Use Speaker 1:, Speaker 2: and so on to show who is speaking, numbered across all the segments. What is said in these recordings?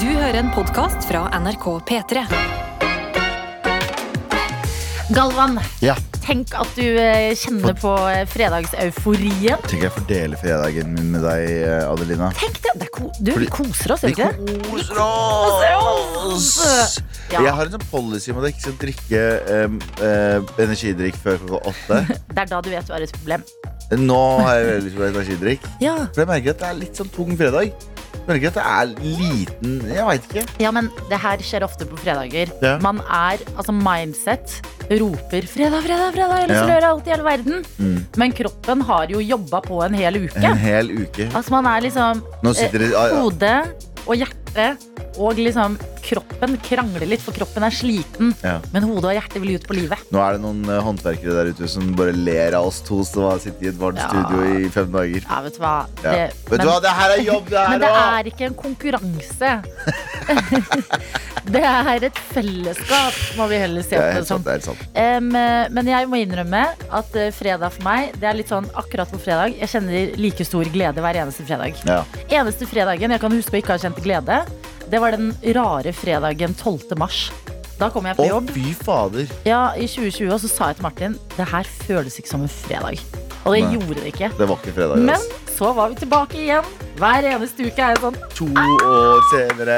Speaker 1: Du hører en podkast fra NRK P3.
Speaker 2: Galvan,
Speaker 3: Ja,
Speaker 2: tenk at du eh, kjenner på eh, fredagseuforiens.
Speaker 3: tenker jeg fordeler fredagen min med deg, eh, Adelina.
Speaker 2: Tenk det! det er ko du, vi
Speaker 3: Fordi-
Speaker 2: koser oss,
Speaker 3: Vi
Speaker 2: gjør vi ikke det?
Speaker 3: koser
Speaker 2: oss!
Speaker 3: oss!
Speaker 2: Ja.
Speaker 3: Jeg har en sånn policy om at jeg ikke skal drikke em, eh, energidrikk før klokka åtte.
Speaker 2: Det er da du vet du har et problem.
Speaker 3: Nå har jeg veldig lyst på energidrikk.
Speaker 2: Ja,
Speaker 3: For jeg merker at det er litt sånn tung fredag. Jeg merker at det er liten Jeg veit ikke.
Speaker 2: men det her skjer ofte på fredager.
Speaker 3: Ja.
Speaker 2: Man er, altså mindset roper 'fredag, fredag, fredag', jeg har lyst til å
Speaker 3: Ja.
Speaker 2: gjøre alt i hele verden.
Speaker 3: Mm.
Speaker 2: Men kroppen har jo jobba på en hel uke.
Speaker 3: En hel uke.
Speaker 2: Altså man er liksom
Speaker 3: Nå sitter det ah,
Speaker 2: hode og hjerte og liksom kroppen krangler litt, for kroppen er sliten.
Speaker 3: Ja.
Speaker 2: Men hodet og hjertet vil ut på livet.
Speaker 3: Nå er det noen eh, håndverkere der ute som bare ler av oss to som har sittet i et varmt
Speaker 2: Ja.
Speaker 3: studio i fem dager.
Speaker 2: Ja, vet du hva.
Speaker 3: Ja.
Speaker 2: Det,
Speaker 3: Vet du hva, det her er jobb, det
Speaker 2: Men
Speaker 3: her
Speaker 2: det
Speaker 3: òg!
Speaker 2: er ikke en konkurranse. det er et fellesskap, må vi heller se
Speaker 3: Det er
Speaker 2: på det
Speaker 3: helt sant.
Speaker 2: som.
Speaker 3: Det er helt sant.
Speaker 2: Em, eh, men jeg må innrømme at eh, fredag for meg, det er litt sånn akkurat på fredag. Jeg kjenner like stor glede hver eneste fredag.
Speaker 3: Ja.
Speaker 2: Eneste fredagen jeg kan huske å ikke ha kjent glede, det var den rare fredagen 12. mars. Da kom jeg
Speaker 3: Å,
Speaker 2: på jobb
Speaker 3: fy fader.
Speaker 2: ja, i 2020, og så sa jeg til Martin det her føles ikke som en fredag. Og det
Speaker 3: Nei.
Speaker 2: gjorde det ikke.
Speaker 3: Det var ikke fredag.
Speaker 2: Men
Speaker 3: ass.
Speaker 2: så var vi tilbake igjen. Hver eneste uke er jeg sånn
Speaker 3: To år senere.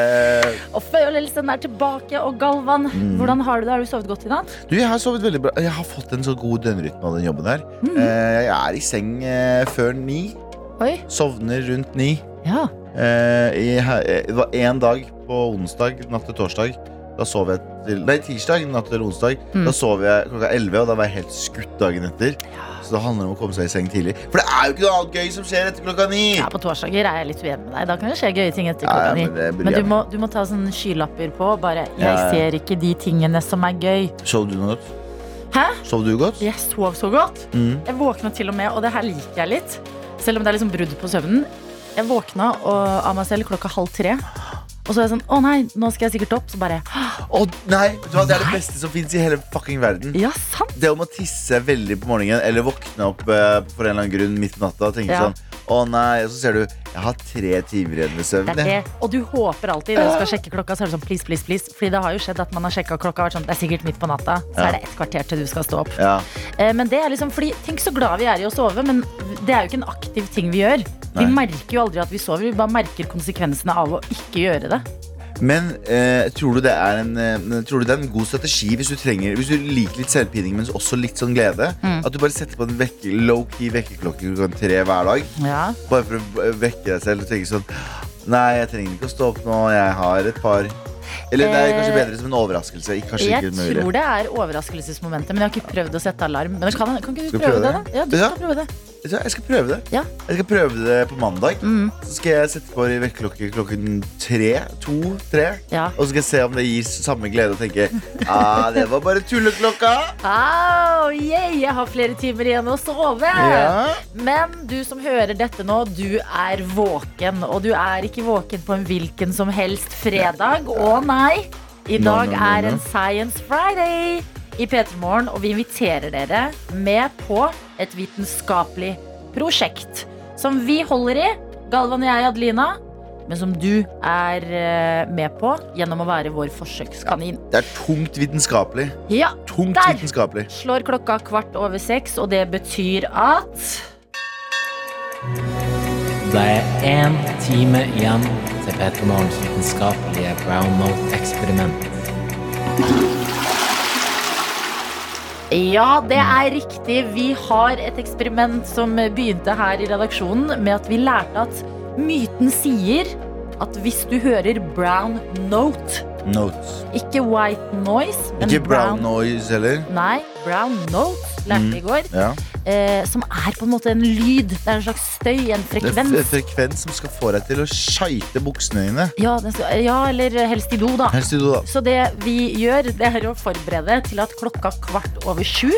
Speaker 2: Og følelsen er tilbake. Og Galvan,
Speaker 3: Mm.
Speaker 2: hvordan har du det? Har du sovet godt i natt?
Speaker 3: Du, jeg har sovet veldig bra. Jeg har fått en så god døgnrytme av den jobben her.
Speaker 2: Mhm.
Speaker 3: Eh, Jeg er i seng eh, før ni.
Speaker 2: Oi.
Speaker 3: Sovner rundt ni.
Speaker 2: Ja.
Speaker 3: Eh, i he- eh, Det var én dag på onsdag, natt til torsdag. Da sov jeg til Nei, tirsdag natt til onsdag.
Speaker 2: Mm.
Speaker 3: Da sov jeg klokka 11, og da var jeg helt skutt dagen etter. Så det handler om å komme seg i seng tidlig. For det er jo ikke noe annet gøy som skjer etter klokka ni!
Speaker 2: ja, På torsdager er jeg litt uenig med deg. Da kan det skje gøye ting etter
Speaker 3: Ja, ja,
Speaker 2: klokka ni.
Speaker 3: men det bryr
Speaker 2: Men
Speaker 3: jeg
Speaker 2: du må, du må ta sånne skylapper på. Bare 'jeg
Speaker 3: Ja, ja.
Speaker 2: ser ikke de tingene som er gøy'.
Speaker 3: meg. Sov du noe godt?
Speaker 2: Hæ?
Speaker 3: Sov du godt?
Speaker 2: Jeg sov så godt.
Speaker 3: Mm.
Speaker 2: Jeg våkna til og med, og det her liker jeg litt. Selv om det er liksom brudd på søvnen. Jeg våkna og, av meg selv klokka halv tre. Og så er jeg sånn 'å nei, nå skal jeg sikkert opp'. Så bare
Speaker 3: Å, nei, vet du hva? Det er det beste som fins i hele fucking verden.
Speaker 2: Ja, sant!
Speaker 3: Det om å tisse veldig på morgenen eller våkne opp eh, for en eller annen grunn midt på natta og tenke
Speaker 2: Ja.
Speaker 3: sånn Å nei, og så ser du Jeg har tre timer igjen med søvn.
Speaker 2: Det er det. Og du håper alltid når du skal sjekke klokka, så er det sånn please, please, please. Fordi det har jo skjedd at man har sjekka klokka og vært sånn, det er sikkert midt på natta. Så
Speaker 3: Ja.
Speaker 2: er det et kvarter til du skal stå opp.
Speaker 3: Ja.
Speaker 2: Eh, Men det er liksom fordi, tenk så glad vi er i å sove, men det er jo ikke en aktiv ting vi gjør. Vi
Speaker 3: Nei.
Speaker 2: merker jo aldri at vi sover, vi bare merker konsekvensene av å ikke gjøre det.
Speaker 3: Men eh, tror, du det er en, eh, tror du det er en god strategi hvis du, trenger, hvis du liker litt selvpining, men også litt sånn glede?
Speaker 2: Mm.
Speaker 3: At du bare setter på en vekke, low-key vekkerklokke klokka tre hver dag?
Speaker 2: Ja.
Speaker 3: Bare for å eh, vekke deg selv og tenke sånn Nei, jeg trenger ikke å stå opp nå. Jeg har et par Eller det er kanskje
Speaker 2: Eh,
Speaker 3: bedre som en overraskelse. ikke- Kanskje
Speaker 2: Jeg
Speaker 3: ikke mulig.
Speaker 2: tror det er overraskelsesmomentet, men jeg har ikke prøvd å sette alarm. Men kan, kan ikke du
Speaker 3: Skal
Speaker 2: prøve
Speaker 3: prøve
Speaker 2: det,
Speaker 3: det?
Speaker 2: da? Ja, du
Speaker 3: Ja.
Speaker 2: skal prøve det.
Speaker 3: Vet du hva, Jeg skal prøve det.
Speaker 2: Ja.
Speaker 3: Jeg skal prøve det på mandag.
Speaker 2: Mm.
Speaker 3: Så skal jeg sette på vekkerklokke klokken tre. To, tre.
Speaker 2: Ja.
Speaker 3: Og så skal jeg se om det gir samme glede og tenke ah, det var bare tulleklokka.
Speaker 2: Au, yeah, jeg har flere timer igjen å sove!
Speaker 3: Ja.
Speaker 2: Men du som hører dette nå, du er våken. Og du er ikke våken på en hvilken som helst fredag. Å nei! I
Speaker 3: No,
Speaker 2: dag
Speaker 3: no, no,
Speaker 2: er
Speaker 3: no.
Speaker 2: en Science Friday i P3 Morgen, og vi inviterer dere med på et vitenskapelig prosjekt som vi holder i, Galvan og jeg, Adelina, men som du er eh, med på gjennom å være vår forsøkskanin.
Speaker 3: Det er tungt vitenskapelig.
Speaker 2: Ja,
Speaker 3: Tungt
Speaker 2: Der!
Speaker 3: vitenskapelig.
Speaker 2: slår klokka kvart over seks, og det betyr at
Speaker 4: Det er én time igjen til Petter Morgens vitenskapelige brown note-eksperiment.
Speaker 2: Ja, det er riktig. Vi har et eksperiment som begynte her i redaksjonen med at vi lærte at myten sier at hvis du hører brown note,
Speaker 3: Notes.
Speaker 2: ikke white noise, men
Speaker 3: Ikke brown Mm. noise heller.
Speaker 2: Nei, brown note lærte vi i går.
Speaker 3: Ja.
Speaker 2: Eh, som er på en måte en lyd. Det er en slags støy, en
Speaker 3: Det er f-
Speaker 2: frekvens.
Speaker 3: frekvens som skal få deg til å skeite buksene dine.
Speaker 2: Ja, den skal, ja, eller helst i do, da.
Speaker 3: Her sitter du da.
Speaker 2: Så det vi gjør, det er å forberede til at klokka kvart over sju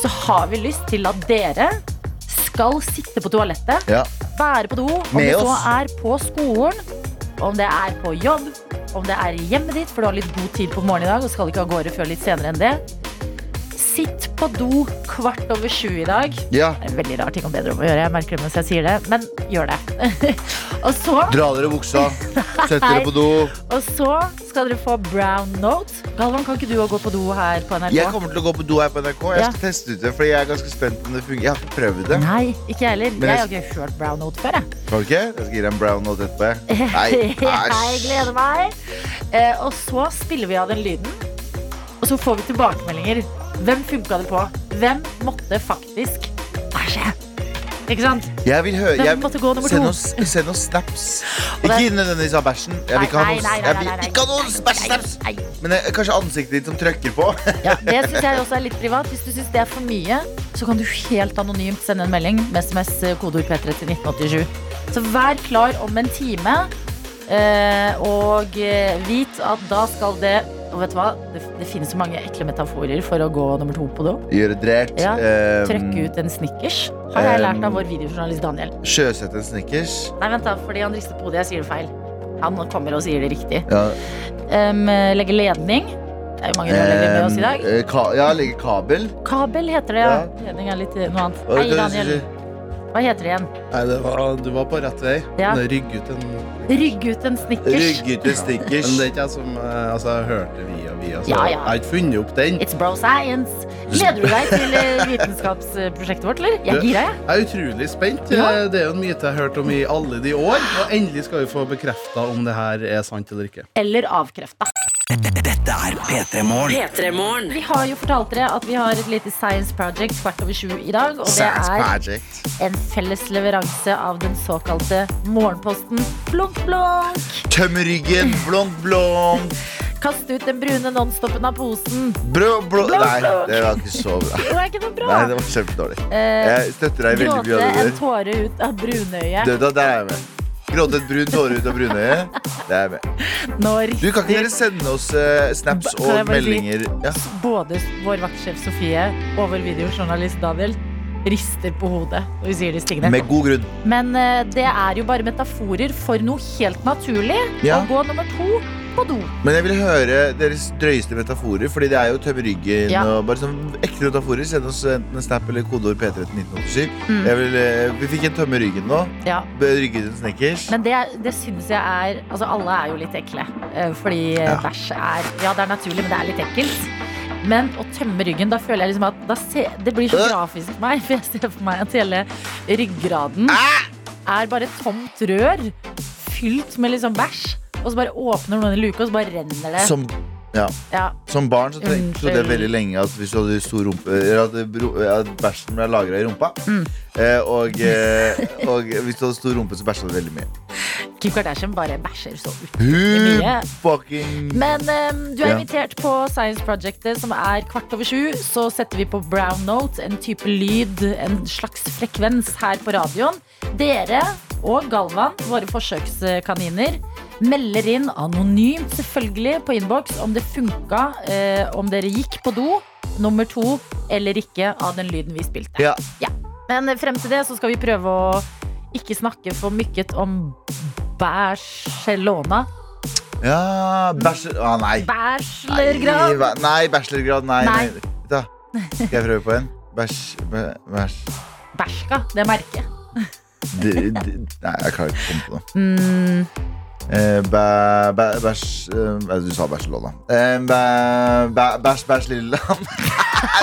Speaker 2: så har vi lyst til at dere skal sitte på toalettet,
Speaker 3: Ja.
Speaker 2: være på do, om
Speaker 3: Med
Speaker 2: det så
Speaker 3: oss.
Speaker 2: er på skolen, om det er på jobb, om det er i hjemmet ditt, for du har litt god tid på morgenen i dag og skal ikke av gårde før litt senere enn det. Sitt på do kvart over sju i dag.
Speaker 3: ja.
Speaker 2: Det er en veldig rar ting om bedre om å gjøre, jeg merker det mens jeg sier det, men gjør det. Og så,
Speaker 3: Dra dere i buksa, sett dere på do.
Speaker 2: og så skal dere få brown note. Galvan, kan ikke du òg gå på do her på NRK?
Speaker 3: Jeg kommer til å gå på do her på NRK. Jeg
Speaker 2: Ja.
Speaker 3: skal teste ut det, fordi jeg er ganske spent på om det fungerer. Jeg har ikke prøvd det.
Speaker 2: Nei, ikke jeg heller.
Speaker 3: Men
Speaker 2: Jeg
Speaker 3: jeg-
Speaker 2: har ikke hørt brown note før, jeg.
Speaker 3: Har du ikke? Jeg skal gi deg en brown note etterpå. Nei,
Speaker 2: Jeg
Speaker 3: æsj.
Speaker 2: gleder meg. Eh, og så spiller vi av den lyden, og så får vi tilbakemeldinger. Hvem funka det på? Hvem måtte faktisk bæsje? Ikke sant?
Speaker 3: Jeg vil høre
Speaker 2: Hvem
Speaker 3: jeg,
Speaker 2: måtte gå nummer
Speaker 3: Send
Speaker 2: to?
Speaker 3: oss, send oss snaps.
Speaker 2: Og
Speaker 3: Ikke
Speaker 2: det-
Speaker 3: nødvendigvis av bæsjen. Jeg vil ikke ha
Speaker 2: Nei,
Speaker 3: noen,
Speaker 2: nei, nei,
Speaker 3: jeg
Speaker 2: nei, nei,
Speaker 3: vil
Speaker 2: nei.
Speaker 3: ikke ha noen bæsj-snaps.
Speaker 2: Nei, nei.
Speaker 3: Men eh, kanskje ansiktet ditt som trøkker på.
Speaker 2: Ja, det syns jeg også er litt privat. Hvis du syns det er for mye, så kan du helt anonymt sende en melding med SMS eh, kodeord P3 til 1987. Så vær klar om en time, eh, og eh, vit at da skal det Og vet du hva? Det, det finnes så mange ekle metaforer for å gå nummer to på do.
Speaker 3: Gjøre drert.
Speaker 2: Ja,
Speaker 3: eh,
Speaker 2: Trøkke ut en snickers, har jeg lært
Speaker 3: Um,
Speaker 2: av vår videojournalist Daniel.
Speaker 3: Sjøsette en snickers.
Speaker 2: Nei, vent, da, fordi han rister på hodet. Jeg sier det feil. Han kommer og sier det riktig.
Speaker 3: Ja,
Speaker 2: Em, eh, legge ledning. Det er jo mange rørleggere med oss i dag.
Speaker 3: eh, ka ja, legge kabel.
Speaker 2: Kabel heter det, ja. Ledning er litt noe annet. Hei, Daniel. Hva heter det igjen?
Speaker 5: Nei, det var, ah, du var på rett vei.
Speaker 2: Ja.
Speaker 5: Men Rygg ut en
Speaker 2: Rygg ut en snickers.
Speaker 3: Ryggete
Speaker 5: Men
Speaker 3: snickers.
Speaker 5: det er ikke jeg som eh, Altså, jeg hørte via via, så
Speaker 2: Ja, ja.
Speaker 5: jeg har ikke funnet opp den.
Speaker 2: It's bro science. Gleder du deg til eh, vitenskapsprosjektet vårt, eller? Jeg er gira, jeg.
Speaker 5: Jeg er utrolig spent.
Speaker 2: Ja.
Speaker 5: Eh, Det er jo en myte jeg har hørt om i alle de år, og endelig skal vi få bekrefta om det her er sant eller ikke.
Speaker 2: Eller avkrefta. Vi har jo fortalt dere at vi har et lite science project kvart over sju i dag. Og det
Speaker 3: Science
Speaker 2: er
Speaker 3: project.
Speaker 2: en felles leveranse av den såkalte morgenposten Blunk Blunk.
Speaker 3: Tøm ryggen, blonk, blonk.
Speaker 2: Kast ut den brune nonstopen av posen.
Speaker 3: Bro, bro. Nei, det var ikke så bra.
Speaker 2: Det er ikke noe bra.
Speaker 3: Nei, det var kjempedårlig.
Speaker 2: Eh,
Speaker 3: Jeg støtter deg veldig mye
Speaker 2: Gråte
Speaker 3: av det
Speaker 2: en
Speaker 3: der.
Speaker 2: tåre ut av brunøyet.
Speaker 3: Du, da, der er jeg med. Gråte et brunt hår ut av brunøyet. Det er jeg med.
Speaker 2: Når
Speaker 3: Du, kan ikke dere sende oss eh, snaps
Speaker 2: Kan jeg
Speaker 3: og
Speaker 2: bare si-
Speaker 3: meldinger? Ja.
Speaker 2: både vår vaktsjef Sofie og vår videojournalist Daniel rister på hodet når vi sier disse tingene.
Speaker 3: Med god grunn.
Speaker 2: Men eh, det er jo bare metaforer for noe helt naturlig. Å
Speaker 3: Ja.
Speaker 2: gå nummer to på do.
Speaker 3: Men jeg vil høre deres drøyeste metaforer, Fordi det er jo tømme ryggen
Speaker 2: Ja.
Speaker 3: og bare sånn ekte metaforer. Send oss enten en snap eller kodeord P3 til 1987.
Speaker 2: Mm.
Speaker 3: Jeg vil, eh, vi fikk en tømme ryggen nå.
Speaker 2: Ja.
Speaker 3: Rygget en snekkers.
Speaker 2: Men det, det syns jeg er Altså, alle er jo litt ekle. eh, Fordi eh,
Speaker 3: Ja.
Speaker 2: bæsj er Ja, det er naturlig, men det er litt ekkelt. Men å tømme ryggen, da føler jeg liksom at da se, Det blir så
Speaker 3: Øh.
Speaker 2: grafisk for meg, for jeg ser for meg at hele ryggraden
Speaker 3: Ah!
Speaker 2: er bare et tomt rør fylt med liksom bæsj. Og så bare åpner noen en luke, og så bare renner det.
Speaker 3: Som, ja.
Speaker 2: Ja,
Speaker 3: Som barn så tenkte jeg det
Speaker 2: eh, Unnskyld.
Speaker 3: veldig lenge at hvis du hadde stor rumpe eller At, bro- at bæsjen ble lagra i rumpa.
Speaker 2: Mm.
Speaker 3: Eh, og, eh, og hvis du hadde stor rumpe, så bæsja du veldig mye.
Speaker 2: Kim Kardashian bare bæsjer så ut.
Speaker 3: Who
Speaker 2: Mye.
Speaker 3: fucking
Speaker 2: Men ehm, du er
Speaker 3: Ja.
Speaker 2: invitert på Science Projectet, som er kvart over sju. Så setter vi på brown note, en type lyd, en slags frekvens her på radioen. Dere og Galvan, våre forsøkskaniner, melder inn anonymt selvfølgelig på innboks om det funka, eh, om dere gikk på do nummer to eller ikke av den lyden vi spilte.
Speaker 3: Ja.
Speaker 2: Men frem til det så skal vi prøve å ikke snakke for mykket om Barcelona.
Speaker 3: ja bachelor... Ah, nei.
Speaker 2: Bachelorgrad.
Speaker 3: Nei, nei, bachelorgrad. Nei.
Speaker 2: Nei.
Speaker 3: nei. Da. Skal jeg prøve på en? Bæsj bæ- Bæsj
Speaker 2: Berska, det merket.
Speaker 3: D- d- Nei, jeg klarer ikke å komme på noe.
Speaker 2: Mm,
Speaker 3: Eh, bæ- bæ- Bæsj eh, Du sa Barcelona. Eh, bæ- bæ- Bæsj, bæsj, Lilleland.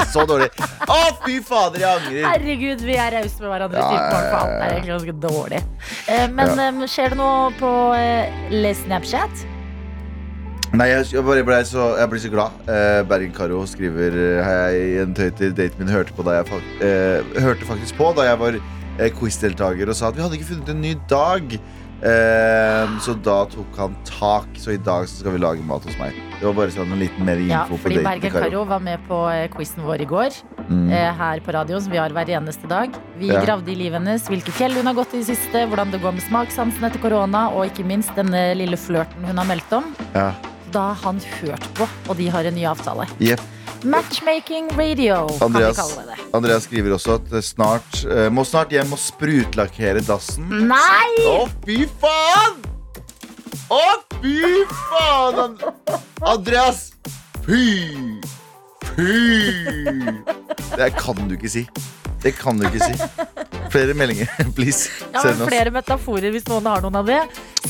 Speaker 3: Så dårlig. Å, fy fader, jeg angrer.
Speaker 2: herregud, vi er rause med hverandre.
Speaker 3: Ja,
Speaker 2: Ja, ja,
Speaker 3: ja, ja,
Speaker 2: Alt er
Speaker 3: ja.
Speaker 2: egentlig ganske dårlig. Eh, men em, skjer det noe på eh, Le Snapchat?
Speaker 3: Nei, jeg, jeg, bare ble så, jeg blir så glad. Eh, Bergen Karo skriver eh, Hei, en tøyter daten min hørte, på da jeg, fak- eh, hørte faktisk på da jeg var eh, quizdeltaker og sa at vi hadde ikke funnet en ny dag. Eh, så da tok han tak. Så i dag så skal vi lage mat hos meg. Det var bare sånn en liten mer
Speaker 2: Ja,
Speaker 3: info på
Speaker 2: fordi
Speaker 3: daten
Speaker 2: Bergen
Speaker 3: til Karo.
Speaker 2: Karo var med på eh, quizen vår i går.
Speaker 3: Mm.
Speaker 2: Eh, her på radioen, som vi har hver eneste dag. Vi
Speaker 3: Ja.
Speaker 2: gravde i livet hennes, hvilke fjell hun har gått i det siste, hvordan det går med smakssansen etter korona, og ikke minst denne lille flørten hun har meldt om.
Speaker 3: Ja.
Speaker 2: Da har han hørt på, og de har en ny avtale.
Speaker 3: Jepp.
Speaker 2: Matchmaking radio,
Speaker 3: Andreas.
Speaker 2: kan vi kalle det.
Speaker 3: Andreas skriver også at eh, snart eh, må snart hjem og sprutlakkere dassen.
Speaker 2: Nei!
Speaker 3: Å, fy faen! Å, fy faen! And- Andreas! Fy! Fy! Det kan du ikke si. Det kan du ikke si. Flere meldinger, please.
Speaker 2: Jeg har
Speaker 3: Send oss.
Speaker 2: flere metaforer hvis noen har noen av det.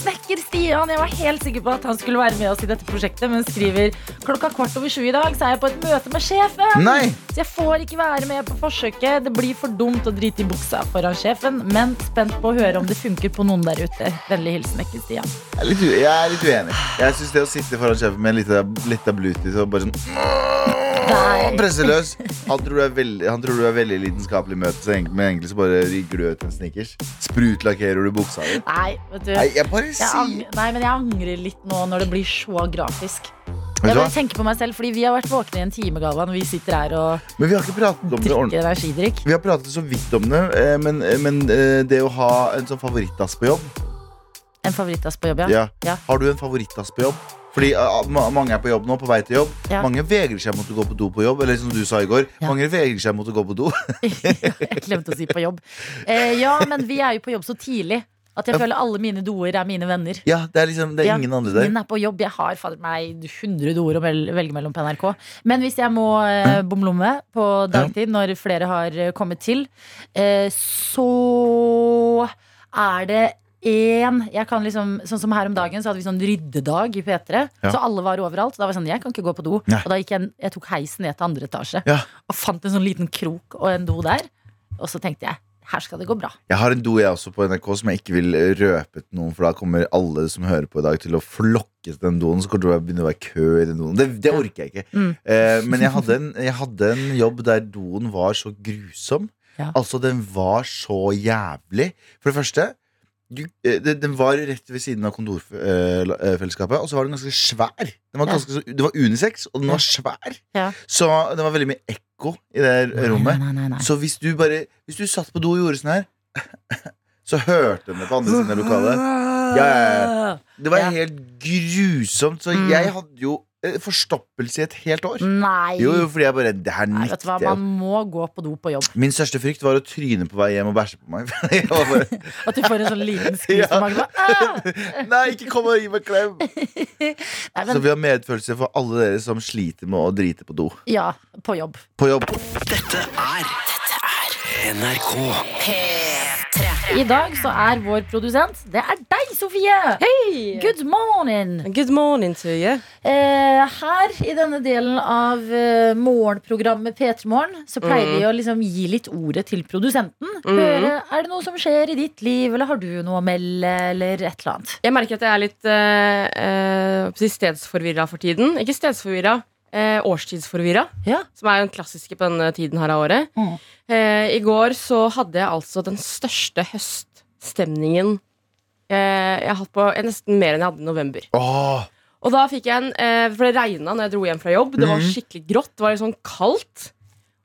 Speaker 2: Snekker Stian, jeg var helt sikker på at han skulle være med oss i dette prosjektet, men skriver klokka kvart over sju i dag, så er jeg på et møte med sjefen.
Speaker 3: Nei!
Speaker 2: Så jeg får ikke være med på forsøket. Det blir for dumt å drite i buksa foran sjefen, men spent på å høre om det funker på noen der ute. Vennlig hilsen Snekker Stian.
Speaker 3: Jeg er litt, u jeg er litt uenig. Jeg syns det å sitte foran sjefen med litt av, litt av bluetooth og bare sånn
Speaker 2: Nei.
Speaker 3: presse løs han, tror du er veldig- han tror du er veldig lidenskapelig i møte, så egentlig- men egentlig så bare rygger du ut en snickers. Sprutlakkerer du buksa di.
Speaker 2: Nei, vet du.
Speaker 3: Nei, jeg bare
Speaker 2: Jeg
Speaker 3: sier
Speaker 2: angrer, nei, men jeg angrer litt nå når det blir så grafisk.
Speaker 3: Vet
Speaker 2: Jeg
Speaker 3: du
Speaker 2: bare
Speaker 3: hva?
Speaker 2: tenker på meg selv, fordi Vi har vært våkne i en time, Galvan. Vi sitter her og
Speaker 3: Men vi har ikke pratet om det ordentlig.
Speaker 2: drikker energidrikk.
Speaker 3: Vi har pratet så vidt om det, eh, men, men eh, det å ha en sånn favorittass på jobb
Speaker 2: En favorittass på jobb, ja.
Speaker 3: ja. Har du en favorittass på jobb? Fordi eh, ma- mange er på jobb nå, på vei til jobb.
Speaker 2: Ja.
Speaker 3: Mange vegrer seg mot å gå på do på jobb. Eller som du sa i går,
Speaker 2: Ja.
Speaker 3: mange vegrer seg mot å gå på do.
Speaker 2: Jeg glemte å si på jobb. Eh, ja, men vi er jo på jobb så tidlig at jeg føler alle mine doer er mine venner.
Speaker 3: ja, det er liksom, det er
Speaker 2: Ja,
Speaker 3: ingen andre der.
Speaker 2: Min er på jobb. Jeg har fader meg 100 doer å mel- velge mellom på NRK. Men hvis jeg må eh, bomlomme på dagtid, når flere har eh, kommet til, eh, så er det én Jeg kan liksom, sånn som her om dagen, så hadde vi sånn ryddedag i P3.
Speaker 3: Ja.
Speaker 2: Så alle var overalt. Da var jeg sånn Jeg kan ikke gå på do.
Speaker 3: Nei.
Speaker 2: Og da gikk jeg, jeg tok heisen ned til andre etasje
Speaker 3: Ja.
Speaker 2: og fant en sånn liten krok og en do der. Og så tenkte jeg her skal det gå bra.
Speaker 3: Jeg har en do jeg også på NRK som jeg ikke vil røpe til noen, for da kommer alle som hører på i dag, til å flokke til den doen. Så kommer det til å begynne å være kø i den doen. Det, det orker jeg ikke.
Speaker 2: Mm.
Speaker 3: Eh, men jeg hadde, en, jeg hadde en jobb der doen var så grusom.
Speaker 2: Ja.
Speaker 3: Altså, den var så jævlig. For det første du, eh, det- den var rett ved siden av kontorfellesskapet, og så var den ganske svær. Den var,
Speaker 2: Ja.
Speaker 3: ganske, så- det var unisex, og den
Speaker 2: Ja.
Speaker 3: var svær.
Speaker 2: Ja.
Speaker 3: Så det var veldig mye ekko i det rommet.
Speaker 2: Nei, nei, nei, nei.
Speaker 3: Så hvis du bare Hvis du satt på do og gjorde sånn her Så hørte hun det på andre siden av lokalet Ja, ja, Det var
Speaker 2: Ja.
Speaker 3: helt grusomt Så
Speaker 2: Mm.
Speaker 3: jeg hadde jo eh, forstoppelse i et helt år
Speaker 2: Nei.
Speaker 3: Jo, jo, fordi jeg bare Det her
Speaker 2: Nei, vet du
Speaker 3: nekter
Speaker 2: hva,
Speaker 3: jeg
Speaker 2: Man må gå på do på jobb.
Speaker 3: jo. Min største frykt var å tryne på vei hjem og bæsje på meg Jeg var bare,
Speaker 2: At du får en sånn liten skvis på
Speaker 3: Ja.
Speaker 2: magen. bare, "Ah!" «Æ!»
Speaker 3: Nei, ikke kom og gi meg klem
Speaker 2: Nei,
Speaker 3: Så
Speaker 2: men,
Speaker 3: vi har medfølelse for alle dere som sliter med å drite på do
Speaker 2: ja, på jobb.
Speaker 3: På jobb
Speaker 2: I dag så er vår produsent Det er deg, Sofie! Good morning!
Speaker 6: Good morning to you.
Speaker 2: Eh, her i denne delen av eh, morgenprogrammet P3 Morgen så pleier vi å liksom gi litt ordet til produsenten. Høre, er det noe som skjer i ditt liv, eller har du noe å melde, eller et eller annet?
Speaker 6: Jeg merker at jeg er litt uh, stedsforvirra for tiden. Ikke stedsforvirra, eh, årstidsforvirra.
Speaker 2: Ja.
Speaker 6: Som er jo den klassiske på denne tiden her av året.
Speaker 2: Mm.
Speaker 6: Eh, I går så hadde jeg altså den største høststemningen eh, jeg har hatt på eh, nesten mer enn jeg hadde i november.
Speaker 3: Åh,
Speaker 6: Og da fikk jeg en eh, For det regna når jeg dro hjem fra jobb. Det var skikkelig grått. Det var litt sånn kaldt.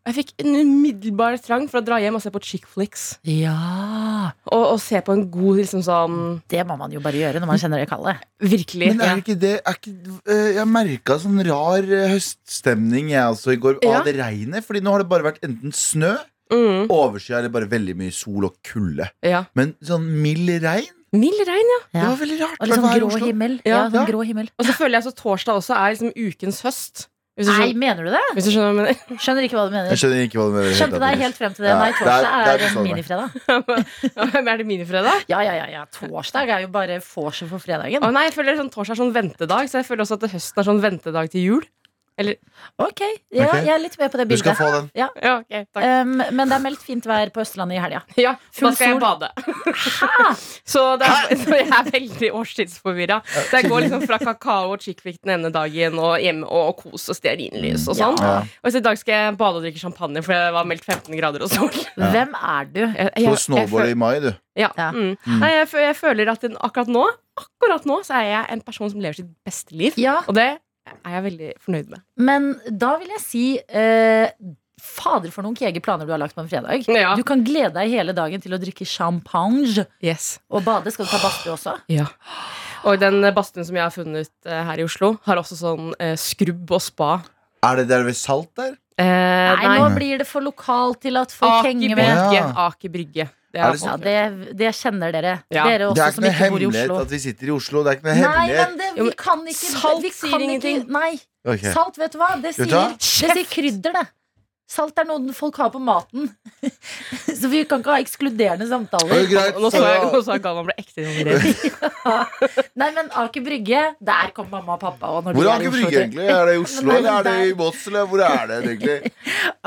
Speaker 6: Jeg fikk en umiddelbar trang for å dra hjem og se på chick flicks.
Speaker 2: Ja
Speaker 6: Og, og se på en god liksom sånn
Speaker 2: Det må man jo bare gjøre når man kjenner det kallet.
Speaker 6: Virkelig.
Speaker 3: Men er det ikke det er ikke, eh, Jeg merka sånn rar eh, høststemning jeg også i går
Speaker 6: Ja.
Speaker 3: av det regnet. Fordi nå har det bare vært enten snø,
Speaker 6: Mm,
Speaker 3: overskya eller bare veldig mye sol og kulde.
Speaker 6: ja.
Speaker 3: Men sånn mild regn,
Speaker 6: Mild regn, ja.
Speaker 2: Ja.
Speaker 3: det var veldig
Speaker 2: Og
Speaker 3: rart.
Speaker 2: litt
Speaker 3: Hvertfall
Speaker 2: sånn
Speaker 3: her i
Speaker 2: grå
Speaker 3: Oslo.
Speaker 2: himmel. Ja,
Speaker 6: Ja,
Speaker 2: sånn
Speaker 3: ja.
Speaker 2: grå himmel.
Speaker 6: Og så føler jeg så torsdag også er liksom ukens høst. Hvis du,
Speaker 2: Nei,
Speaker 6: skjønner,
Speaker 2: mener du det?
Speaker 6: hvis du skjønner hva jeg
Speaker 2: Skjønner ikke hva du mener.
Speaker 3: Jeg skjønner ikke hva du mener.
Speaker 2: Skjønte deg helt frem til det.
Speaker 3: Ja,
Speaker 2: Nei, torsdag
Speaker 3: der- der
Speaker 2: er,
Speaker 3: forstår jeg.
Speaker 2: minifredag.
Speaker 6: mener. er det minifredag?
Speaker 2: Ja, ja, ja, ja. Torsdag er jo bare vorset for fredagen.
Speaker 6: Å nei, jeg føler sånn torsdag er sånn ventedag, så jeg føler også at høsten er sånn ventedag til jul.
Speaker 2: Ok, ja,
Speaker 3: Ok.
Speaker 2: jeg er litt med på det
Speaker 3: Du skal
Speaker 2: bildet.
Speaker 3: få den.
Speaker 6: Ja, ok, takk.
Speaker 2: Um, men det er meldt fint vær på Østlandet i helga.
Speaker 6: Ja,
Speaker 2: full
Speaker 6: da skal
Speaker 2: sol.
Speaker 6: jeg bade. Så, det er, så jeg er veldig årstidsforvirra. Så jeg går liksom fra kakao og chickflick den ene dagen og hjemme og, og kos og stearinlys og sånn.
Speaker 3: Ja.
Speaker 6: Og så i dag skal jeg bade og drikke champagne, for det var meldt 15 grader og sol.
Speaker 2: Hvem er du?
Speaker 6: Jeg- jeg-
Speaker 3: På
Speaker 6: jeg føler-
Speaker 3: snowboard i mai, du.
Speaker 6: Ja.
Speaker 2: Ja.
Speaker 6: Mm. Nei, jeg, fø- jeg føler at den, akkurat nå Akkurat nå så er jeg en person som lever sitt beste liv.
Speaker 2: Ja,
Speaker 6: Og det er jeg veldig fornøyd med.
Speaker 2: men da vil jeg si eh, Fader for noen kjege planer du har lagt på en fredag.
Speaker 6: Ja.
Speaker 2: Du kan glede deg hele dagen til å drikke champagne
Speaker 6: Yes.
Speaker 2: og bade. Skal du ta badstue også?
Speaker 6: Ja. Og den eh, badstuen som jeg har funnet eh, her i Oslo, har også sånn eh, skrubb og spa.
Speaker 3: Er det der ved Salt der?
Speaker 6: Eh,
Speaker 2: Nei,
Speaker 6: nei, Ah,
Speaker 2: nå blir det for lokalt til at folk
Speaker 6: Aker
Speaker 2: henger med.
Speaker 6: Brygge.
Speaker 3: Ja.
Speaker 6: Aker Brygge. Det
Speaker 3: Er
Speaker 6: er
Speaker 3: det
Speaker 2: Ja,
Speaker 6: også-
Speaker 2: det, det kjenner dere.
Speaker 6: Ja.
Speaker 2: Dere
Speaker 3: det
Speaker 2: også
Speaker 3: er ikke
Speaker 2: som
Speaker 3: noe
Speaker 2: ikke bor i
Speaker 3: hemmelighet
Speaker 2: Oslo.
Speaker 3: at vi sitter i Oslo. Det er ikke noe
Speaker 2: Nei, men
Speaker 3: hemmelighet.
Speaker 2: det, vi
Speaker 6: Jo, men
Speaker 2: kan ikke
Speaker 6: salt
Speaker 2: vi
Speaker 6: sier
Speaker 2: kan
Speaker 6: ingenting.
Speaker 2: Ikke, nei,
Speaker 3: Ok.
Speaker 2: salt, vet du hva? Det
Speaker 3: Vet
Speaker 2: sier,
Speaker 3: du hva?
Speaker 2: det sier krydder, det. Salt er noe folk har på maten. Så vi kan ikke ha ekskluderende samtaler.
Speaker 3: Det er greit.
Speaker 6: Nå så jeg, nå så jeg Galvan ble ekte redd.
Speaker 2: Nei, men Aker Brygge, der kom mamma og pappa. Og når
Speaker 3: Hvor
Speaker 2: de
Speaker 3: er
Speaker 2: i
Speaker 3: Aker
Speaker 2: Oslo,
Speaker 3: Brygge,
Speaker 2: tror jeg.
Speaker 3: egentlig? Er det i Oslo, eller er det i Moss, eller hvor er det egentlig?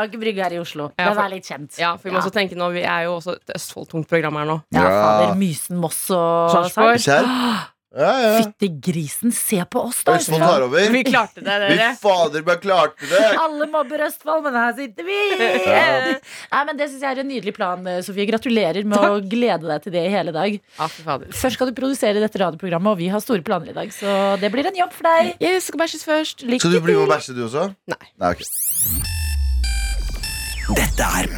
Speaker 2: Aker Brygge er i Oslo.
Speaker 6: Ja,
Speaker 2: Den
Speaker 6: for-
Speaker 2: er litt kjent.
Speaker 6: Ja, for vi må også tenke nå, vi er jo også et Østfold-tungt program her nå.
Speaker 2: Ja,
Speaker 3: Ja.
Speaker 2: fader, Mysen, Moss og
Speaker 6: Sarpsborg.
Speaker 3: Kjær? Ja, ja.
Speaker 2: Fyttegrisen, se på oss, da!
Speaker 3: Østfold tar over.
Speaker 6: Vi klarte det,
Speaker 3: Vi
Speaker 6: dere.
Speaker 3: fader meg klarte det!
Speaker 2: Alle mobber Østfold, men her sitter vi!
Speaker 3: Ja.
Speaker 2: Nei, men Det syns jeg er en nydelig plan, Sofie. Gratulerer med å glede deg til det i hele dag.
Speaker 6: Ja, fy fader.
Speaker 2: Først skal du produsere dette radioprogrammet, og vi har store planer i dag, så det blir en jobb for deg.
Speaker 6: Jeg skal bæsjes først. Lykke
Speaker 3: Skal du bli med og bæsje, du også?
Speaker 6: Nei.
Speaker 3: Nei, ok.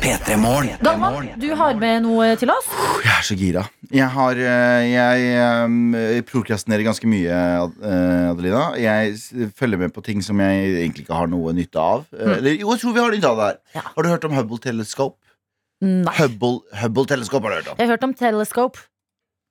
Speaker 2: Galvan, du har med noe til oss?
Speaker 3: Jeg er så gira. Jeg har eh, Jeg eh, prokrastinerer ganske mye, eh, Adelina. Jeg s- følger med på ting som jeg egentlig ikke har noe nytte av. Eh, Eller jo, jeg tror vi har nytte av det her.
Speaker 2: Mm. Ja.
Speaker 3: Har du hørt om Hubble Telescope?
Speaker 2: Nei.
Speaker 3: Hubble, Hubble Telescope har du hørt om?
Speaker 2: Jeg har hørt om Telescope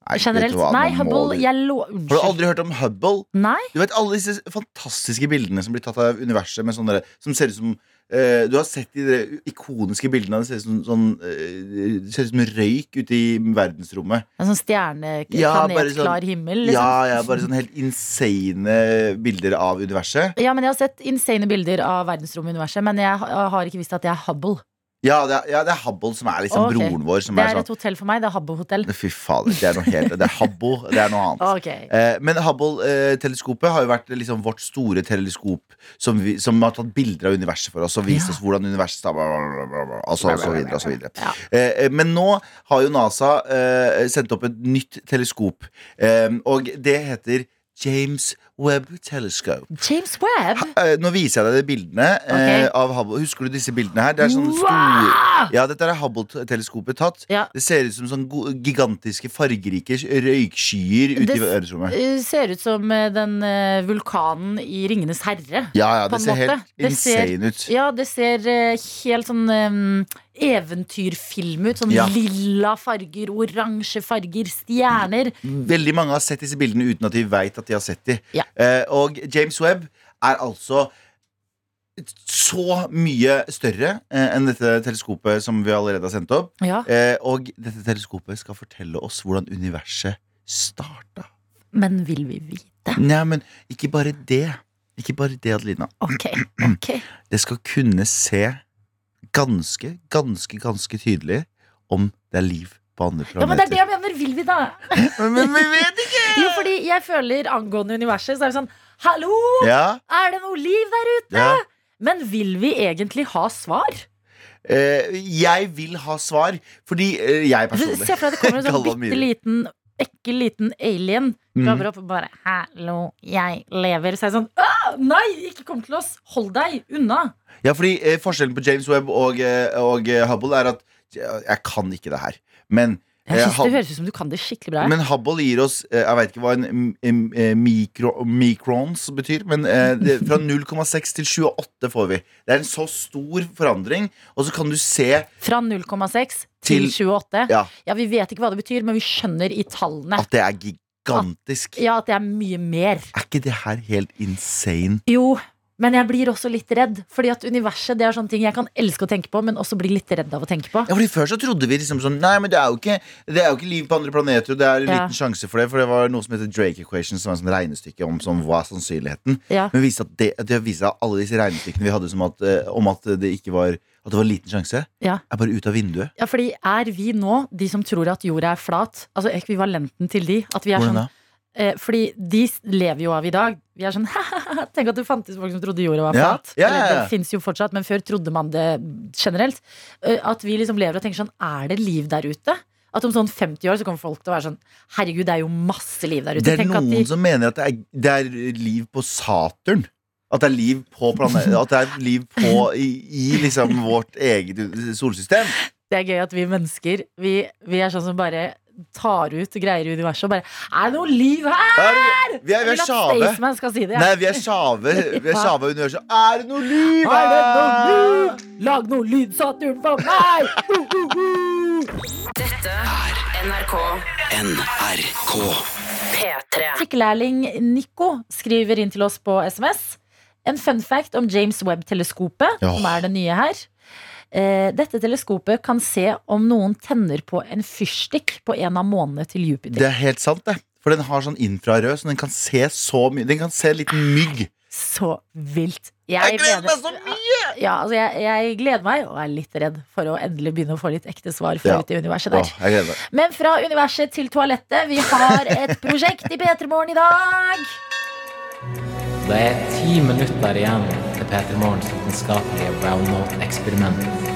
Speaker 3: Nei, vet
Speaker 2: generelt.
Speaker 3: du hva,
Speaker 2: Nei,
Speaker 3: nå må
Speaker 2: Hubble,
Speaker 3: du-
Speaker 2: jeg lå
Speaker 3: Har du
Speaker 2: Unnskyld.
Speaker 3: aldri hørt om Hubble?
Speaker 2: Nei?
Speaker 3: Du vet alle disse fantastiske bildene som blir tatt av universet med sånne, som ser ut som eh, Du har sett de der ikoniske bildene. Det ser ut som, sånn, eh, det ser ut som røyk ute i verdensrommet.
Speaker 2: En sånn stjerne,
Speaker 3: Ja, bare
Speaker 2: planet, klar
Speaker 3: sånn-
Speaker 2: himmel, liksom?
Speaker 3: Ja, ja, bare sånn helt insane bilder av universet.
Speaker 2: Ja, men Jeg har sett insane bilder av verdensromuniverset, men jeg ha- har ikke visst at jeg er Hubble.
Speaker 3: Ja, det er, ja, det er Hubble som er liksom
Speaker 2: Ok.
Speaker 3: broren vår. Som
Speaker 2: Det
Speaker 3: er
Speaker 2: er
Speaker 3: sånn,
Speaker 2: et hotell for meg. Det er Hubble-hotell.
Speaker 3: Fy fader, det er noe helt Det er Habbo, det er noe annet.
Speaker 2: Ok,
Speaker 3: Eh, Men Hubble-teleskopet har jo vært liksom vårt store teleskop som, vi, som har tatt bilder av universet for oss og vist
Speaker 2: Ja.
Speaker 3: oss hvordan universet er, altså, og så videre, og så videre.
Speaker 2: Ja.
Speaker 3: Eh, eh, Men nå har jo NASA eh, sendt opp et nytt teleskop, eh, og det heter James Webb Telescope.
Speaker 2: James Webb!
Speaker 3: Eh, Nå viser jeg deg de bildene eh, av Hubble. Husker du disse bildene her? Det er sånn store Ja, dette er Hubble-teleskopet tatt.
Speaker 2: Ja.
Speaker 3: Det ser ut som sånn go- gigantiske, fargerike røykskyer ute
Speaker 2: Det
Speaker 3: i
Speaker 2: s-
Speaker 3: verdensrommet.
Speaker 2: Eh, Ser ut som eh, den eh, vulkanen i Ringenes herre.
Speaker 3: Ja, ja,
Speaker 2: på en
Speaker 3: det ser
Speaker 2: måte.
Speaker 3: helt
Speaker 2: Det ser-
Speaker 3: insane ut.
Speaker 2: Ja, det ser eh, helt sånn eh, eventyrfilm ut. Sånn
Speaker 3: Ja.
Speaker 2: lilla farger, oransje farger, stjerner.
Speaker 3: Veldig mange har sett disse bildene uten at de veit at de har sett de.
Speaker 2: Ja.
Speaker 3: Eh, og James Webb er altså så mye større eh, enn dette teleskopet som vi allerede har sendt opp.
Speaker 2: Ja,
Speaker 3: Eh, og dette teleskopet skal fortelle oss hvordan universet starta.
Speaker 2: Men vil vi vite?
Speaker 3: Nei, men ikke bare det. Ikke bare det, Adelina.
Speaker 2: Ok. ok
Speaker 3: Det skal kunne se ganske, ganske, ganske tydelig om det er liv på andre
Speaker 2: Ja, men Det er
Speaker 3: planeter.
Speaker 2: det jeg mener. Vil vi, da?
Speaker 3: men, men vi vet ikke!
Speaker 2: Jo, fordi jeg føler angående universet, så er det sånn Hallo!
Speaker 3: Ja,
Speaker 2: Er det noe liv der ute?
Speaker 3: ja.
Speaker 2: Men vil vi egentlig ha svar?
Speaker 3: Eh, jeg vil ha svar, fordi eh, jeg personlig
Speaker 2: Se for deg det kommer en sånn
Speaker 3: Galvan
Speaker 2: bitte
Speaker 3: Myhre.
Speaker 2: liten, ekkel liten alien.
Speaker 3: Mm.
Speaker 2: Graver opp og bare 'Hallo, jeg lever'. Så er det sånn «Åh, Nei, ikke kom til oss! Hold deg unna!
Speaker 3: Ja, fordi eh, Forskjellen på James Webb og, eh, og eh, Hubble er at ja, jeg kan ikke det her. Men,
Speaker 2: Jeg
Speaker 3: eh,
Speaker 2: synes
Speaker 3: Hub-
Speaker 2: Det høres ut som du kan det skikkelig bra.
Speaker 3: men Hubble gir oss eh, Jeg veit ikke hva en, en, en mikro, mikrons betyr, men eh, det, fra 0,6 til 28 får vi. Det er en så stor forandring, og så kan du se
Speaker 2: Fra 0,6 til
Speaker 3: Til-
Speaker 2: 28.
Speaker 3: ja,
Speaker 2: Ja, Vi vet ikke hva det betyr, men vi skjønner i tallene
Speaker 3: at det er gigantisk.
Speaker 2: Ja, at det er mye mer.
Speaker 3: Er ikke det her helt insane?
Speaker 2: Jo, men jeg blir også litt redd. Fordi at universet det er sånne ting jeg kan elske å tenke på, men også bli litt redd av å tenke på.
Speaker 3: Ja, fordi Før så trodde vi liksom sånn Nei, men det er jo ikke, det er jo ikke liv på andre planeter, og det er en
Speaker 2: Ja.
Speaker 3: liten sjanse for det, for det var noe som heter Drake Equation, som er et sånn regnestykke om sånn, hva er sannsynligheten.
Speaker 2: Ja.
Speaker 3: Men viste at det, det viste at alle disse regnestykkene vi hadde som at, eh, om at det ikke var At det var liten sjanse,
Speaker 2: Ja.
Speaker 3: er bare ut av vinduet.
Speaker 2: Ja, fordi er vi nå de som tror at jorda er flat? Altså ekvivalenten til de. At vi er
Speaker 3: Hvordan
Speaker 2: sånn,
Speaker 3: da?
Speaker 2: eh, fordi de s- lever jo av i dag. Vi er sånn Tenk at det fantes folk som trodde jorda var
Speaker 3: Ja,
Speaker 2: flat.
Speaker 3: ja,
Speaker 2: Eller,
Speaker 3: ja, ja.
Speaker 2: Det fins jo fortsatt, men før trodde man det generelt. Eh, at vi liksom lever og tenker sånn Er det liv der ute? At om sånn 50 år så kommer folk til å være sånn Herregud, det er jo masse liv der ute.
Speaker 3: Det er
Speaker 2: Tenk at
Speaker 3: noen
Speaker 2: de-
Speaker 3: som mener at det er, det er liv på Saturn. At det er liv på planeten At det er liv på i, i liksom vårt eget solsystem.
Speaker 2: Det er gøy at vi mennesker Vi, vi er sånn som bare tar ut greier i universet og bare Er det noe liv her?!
Speaker 3: Er, vi
Speaker 2: Jeg
Speaker 3: er, vi
Speaker 2: vil
Speaker 3: er
Speaker 2: at
Speaker 3: sjave.
Speaker 2: Staysman skal si det.
Speaker 3: Nei, vi er sjave. Vi
Speaker 2: Ja.
Speaker 3: er sjave av universet. Er det noe liv
Speaker 2: Er det noe
Speaker 3: her?
Speaker 2: lyd? Lag noe lyd, Saturn, for meg! Trikkelærling Nico skriver inn til oss på SMS. En fun fact om James Webb-teleskopet,
Speaker 3: Ja.
Speaker 2: som er det nye her. Eh, dette teleskopet kan se om noen tenner på en fyrstikk på en av månene til
Speaker 3: Det
Speaker 2: Jupiter.
Speaker 3: er helt sant, det. For den har sånn infrarød, så den kan se så mye. Den kan se en liten mygg.
Speaker 2: Så vilt!
Speaker 3: Jeg gleder meg
Speaker 2: mener-
Speaker 3: så mye!
Speaker 2: Ja, altså jeg, jeg gleder meg, og er litt redd for å endelig begynne å få litt ekte svar fra
Speaker 3: Ja.
Speaker 2: ute i universet der.
Speaker 3: Åh, jeg gleder meg.
Speaker 2: Men fra universet til toalettet. Vi har et prosjekt i P3 Morgen i dag.
Speaker 4: Det er ti minutter igjen til Peter Morgens vitenskapelige brown note-eksperiment.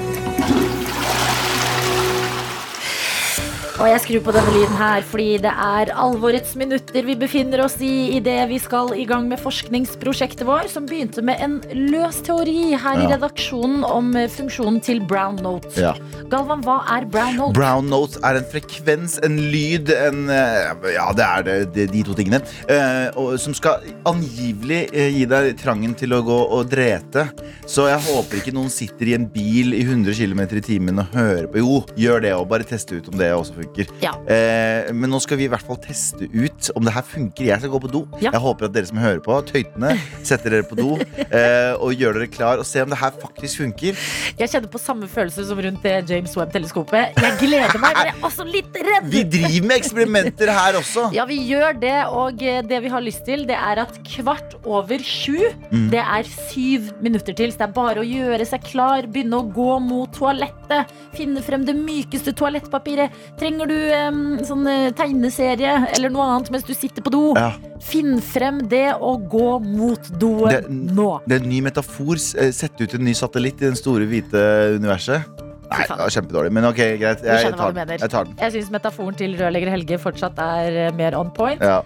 Speaker 2: Og jeg skrur på denne lyden her fordi det er alvorets minutter vi befinner oss i idet vi skal i gang med forskningsprosjektet vår, som begynte med en løs teori her i
Speaker 3: Ja.
Speaker 2: redaksjonen om eh, funksjonen til brown note.
Speaker 3: Ja.
Speaker 2: Galvan, hva er brown note?
Speaker 3: Brown notes er en frekvens, en lyd, en eh, Ja, det er det, det, de to tingene. eh, og, som skal angivelig eh, gi deg trangen til å gå og drete. Så jeg håper ikke noen sitter i en bil i 100 km i timen og hører på. Jo, gjør det og bare teste ut om det også funker.
Speaker 2: Ja.
Speaker 3: Eh, men nå skal vi i hvert fall teste ut om det her funker. Jeg skal gå på do.
Speaker 2: Ja.
Speaker 3: Jeg håper at dere som hører på, tøytene, setter dere på do eh, og gjør dere klar og se om det her faktisk funker.
Speaker 2: Jeg kjenner på samme følelse som rundt det James Webb-teleskopet. Jeg gleder meg, men jeg er også litt redd.
Speaker 3: Vi driver med eksperimenter her også.
Speaker 2: Ja, vi gjør det, og eh, det vi har lyst til, det er at kvart over sju,
Speaker 3: Mm.
Speaker 2: det er syv minutter til, så det er bare å gjøre seg klar, begynne å gå mot toalettet, finne frem det mykeste toalettpapiret. Trenger du em, sånn eh, tegneserie eller noe annet mens du sitter på do?
Speaker 3: Ja.
Speaker 2: Finn frem det og gå mot doen
Speaker 3: Det-
Speaker 2: nå.
Speaker 3: Det er en ny metafor. S- eh, Sette ut en ny satellitt i den store, hvite universet. Nei, det var kjempedårlig, men ok, greit. Jeg
Speaker 2: skjønner hva
Speaker 3: tar
Speaker 2: du mener.
Speaker 3: den. Jeg tar den.
Speaker 2: Jeg syns metaforen til rørlegger Helge fortsatt er eh, mer on point.
Speaker 3: Ja.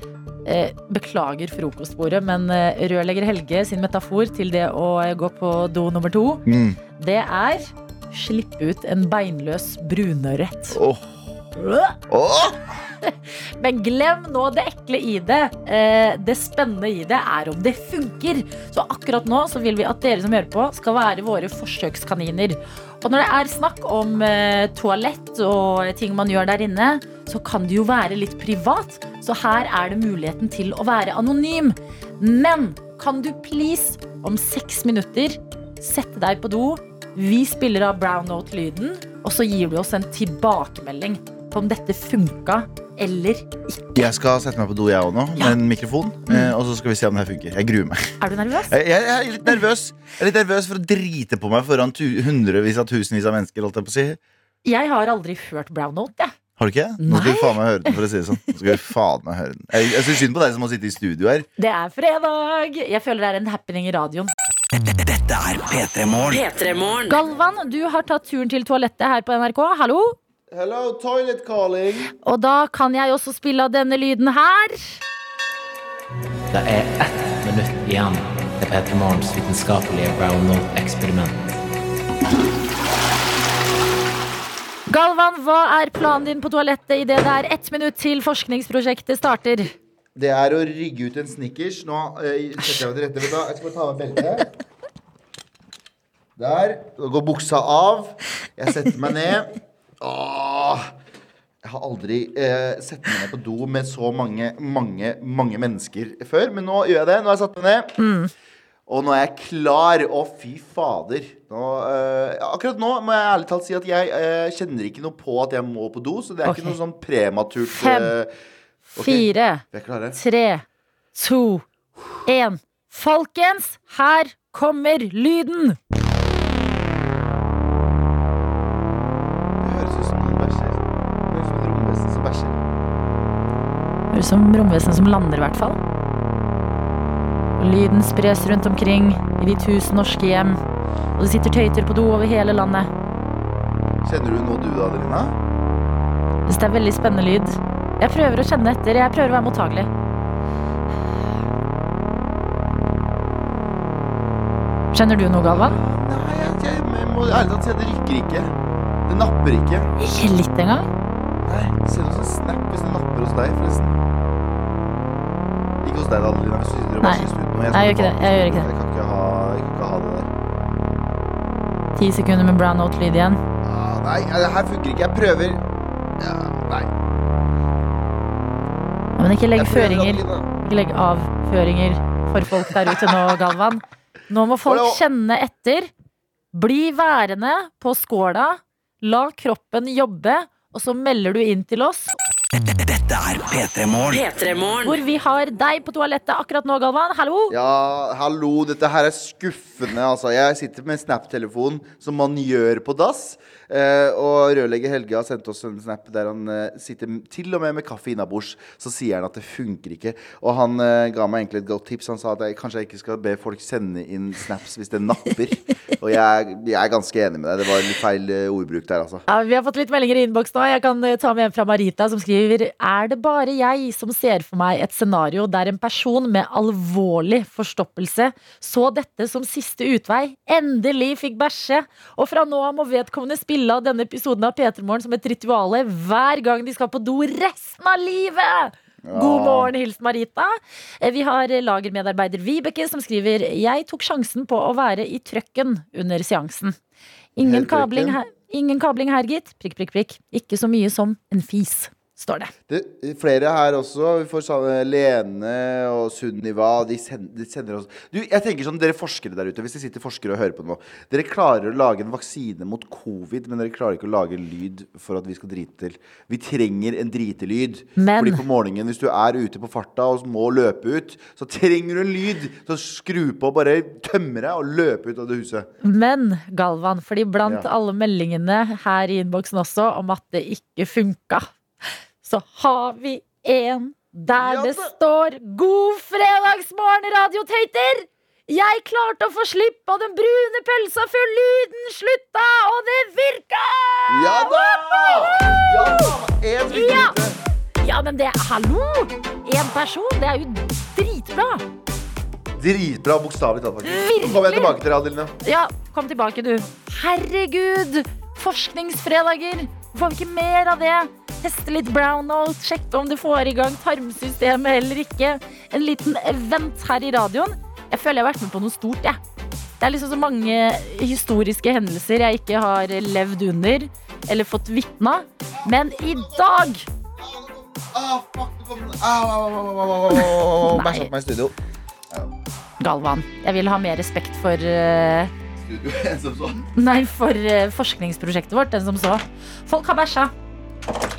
Speaker 2: Eh, Beklager frokostbordet, men eh, rørlegger Helge sin metafor til det å eh, gå på do nummer to,
Speaker 3: Mm.
Speaker 2: det er slippe ut en beinløs brunørret.
Speaker 3: Åh. Åh!
Speaker 2: Men glem nå det ekle i det. Eh, Det spennende i det er om det funker. Så akkurat nå så vil vi at dere som hører på, skal være våre forsøkskaniner. Og når det er snakk om eh, toalett og ting man gjør der inne, så kan det jo være litt privat. Så her er det muligheten til å være anonym. Men kan du please, om seks minutter, sette deg på do? Vi spiller av brown note-lyden, og så gir du oss en tilbakemelding på om dette funka eller
Speaker 3: Jeg skal sette meg på do, jeg òg nå,
Speaker 2: Ja. Mm.
Speaker 3: med en mikrofon. eh, Og så skal vi se om det her funker. Jeg gruer meg.
Speaker 2: Er du nervøs?
Speaker 3: Jeg, jeg, jeg er litt nervøs Jeg er litt nervøs for å drite på meg foran tu hundrevis av tusenvis av mennesker. Holdt jeg på å si.
Speaker 2: Jeg har aldri hørt brown note, jeg.
Speaker 3: Har du ikke? Nå skal du faen meg høre den, for å si det sånn. Nå skal du faen meg høre den Jeg, jeg syns synd på deg som må sitte i studio her.
Speaker 2: Det er fredag! Jeg føler det er en happening i radioen. Galvan, du har tatt turen til toalettet her på NRK. Hallo?
Speaker 3: Hello, toilet calling.
Speaker 2: Og da kan jeg også spille av denne lyden her.
Speaker 4: Det er ett minutt igjen til Peter Morgens vitenskapelige brown note-eksperiment.
Speaker 2: Galvan, hva er planen din på toalettet idet det er ett minutt til forskningsprosjektet starter?
Speaker 3: Det er å rygge ut en snickers. Nå eh, setter jeg meg til rette. Vet du hva, Jeg skal bare ta av meg beltet. Der. Da går buksa av. Jeg setter meg ned. Åh. Jeg har aldri eh, sett meg ned på do med så mange, mange, mange mennesker før. Men nå gjør jeg det. Nå har jeg satt meg ned.
Speaker 2: Mm.
Speaker 3: Og nå er jeg klar. Å, fy fader. Nå, eh, akkurat nå må jeg ærlig talt si at jeg eh, kjenner ikke noe på at jeg må på do, så det er
Speaker 2: Ok.
Speaker 3: ikke noe sånn prematurt
Speaker 2: Fem,
Speaker 3: eh, ok.
Speaker 2: Fire,
Speaker 3: Vi er klare.
Speaker 2: tre, to, én. Folkens, her kommer lyden!
Speaker 3: Det høres ut som noen bæsjer. Det høres ut som en romvesen som bæsjer.
Speaker 2: Høres ut som romvesen som lander, i hvert fall. Og lyden spres rundt omkring i de tusen norske hjem. Og det sitter tøyter på do over hele landet.
Speaker 3: Kjenner du noe du da, Adelina?
Speaker 2: Jeg synes det er veldig spennende lyd. Jeg prøver å kjenne etter. Jeg prøver å være mottagelig. Kjenner du noe, Galvan?
Speaker 3: Nei, jeg, jeg, jeg må ærlig talt si at det rykker ikke. Det napper ikke.
Speaker 2: Ikke litt engang.
Speaker 3: Nei, det ser ut som en snap hvis det napper hos deg, forresten. Ikke hos deg, da, Adelina. Hvis du sitter og
Speaker 2: Nei.
Speaker 3: bæsjer i studio. nå.
Speaker 2: Nei, jeg
Speaker 3: skal
Speaker 2: gjør ikke det. Jeg gjør ikke det.
Speaker 3: Jeg kan ikke ha, jeg kan ikke ha det der.
Speaker 2: Ti sekunder med brown note-lyd igjen.
Speaker 3: Ah, nei, det her funker ikke. Jeg prøver. Ja, nei.
Speaker 2: Ja, Men ikke legg
Speaker 3: Jeg prøver,
Speaker 2: føringer.
Speaker 3: Adelina.
Speaker 2: Ikke legg avføringer for folk der ute nå, Galvan. Nå må folk
Speaker 3: Hallo.
Speaker 2: kjenne etter. Bli værende på skåla, la kroppen jobbe, og så melder du inn til oss hvor vi har deg på toalettet akkurat nå, Galvan. Hallo!
Speaker 3: Ja, hallo, dette her er skuffende, altså. Jeg sitter med Snap-telefon, som man gjør på dass. Eh, og rørlegger Helge har sendt oss en snap der han eh, sitter m- til og med med kaffe innabords. Så sier han at det funker ikke. Og han eh, ga meg egentlig et godt tips. Han sa at jeg kanskje jeg ikke skal be folk sende inn snaps hvis det napper. og jeg, jeg er ganske enig med deg. Det var litt feil eh, ordbruk der, altså.
Speaker 2: Ja, vi har fått litt meldinger i innboksen nå. Jeg kan eh, ta med en fra Marita som skriver Er det bare jeg som ser for meg et scenario der en person med alvorlig forstoppelse så dette som siste utvei, endelig fikk bæsje, og fra nå av må vedkommende spille av denne episoden av P3morgen som et rituale hver gang de skal på do resten av livet! God morgen, hilsen Marita. Eh, Vi har eh, lagermedarbeider Vibeke som skriver Jeg tok sjansen på å være i trøkken under seansen. Ingen
Speaker 3: Helt
Speaker 2: kabling
Speaker 3: riktig.
Speaker 2: her. Ingen kabling her, gitt. Prikk, prikk, prikk. Ikke så mye som en fis, står det.
Speaker 3: Det, flere her også. Vi får sa- Lene og Sunniva. De sender, de sender oss Du, jeg tenker sånn, Dere forskere der ute, hvis det sitter forskere og hører på nå Dere klarer å lage en vaksine mot covid, men dere klarer ikke å lage en lyd for at vi skal drite til. Vi trenger en dritelyd.
Speaker 2: Men-
Speaker 3: Fordi på morgenen, hvis du er ute på farta og må løpe ut, så trenger du en lyd. Så skru på, bare tømme deg og løpe ut av det huset.
Speaker 2: Men Galvan, fordi blant
Speaker 3: Ja.
Speaker 2: alle meldingene her i innboksen også om at det ikke funka, så har vi en der
Speaker 3: Ja
Speaker 2: det
Speaker 3: da.
Speaker 2: står 'God fredagsmorgen, radiotøyter'! Jeg klarte å få slipp, og den brune pølsa før lyden slutta, og det virka!
Speaker 3: Ja da! Ja da! En
Speaker 2: Ja! Ja, men det Hallo! Én person, det er jo dritbra!
Speaker 3: Dritbra, bokstavelig talt, faktisk. Nå kommer jeg tilbake til deg, Adeline.
Speaker 2: Ja, kom tilbake du Herregud, forskningsfredager Får vi ikke mer av det? Teste litt brownout, sjekke om du får i gang tarmsystemet eller ikke En liten event her i radioen Jeg føler jeg har vært med på noe stort, jeg det er liksom så mange historiske hendelser jeg ikke har levd under Eller fått vittna Men i dag
Speaker 3: Ah, fuck, nå kom den. Au, au, au, au, au, au, au, au.
Speaker 2: Nei.
Speaker 3: Bæsja på meg i studio.
Speaker 2: Galvan, jeg vil ha mer respekt for eh,
Speaker 3: Studio, en som så.
Speaker 2: Nei, for eh, forskningsprosjektet vårt Den som så Folk har bæsja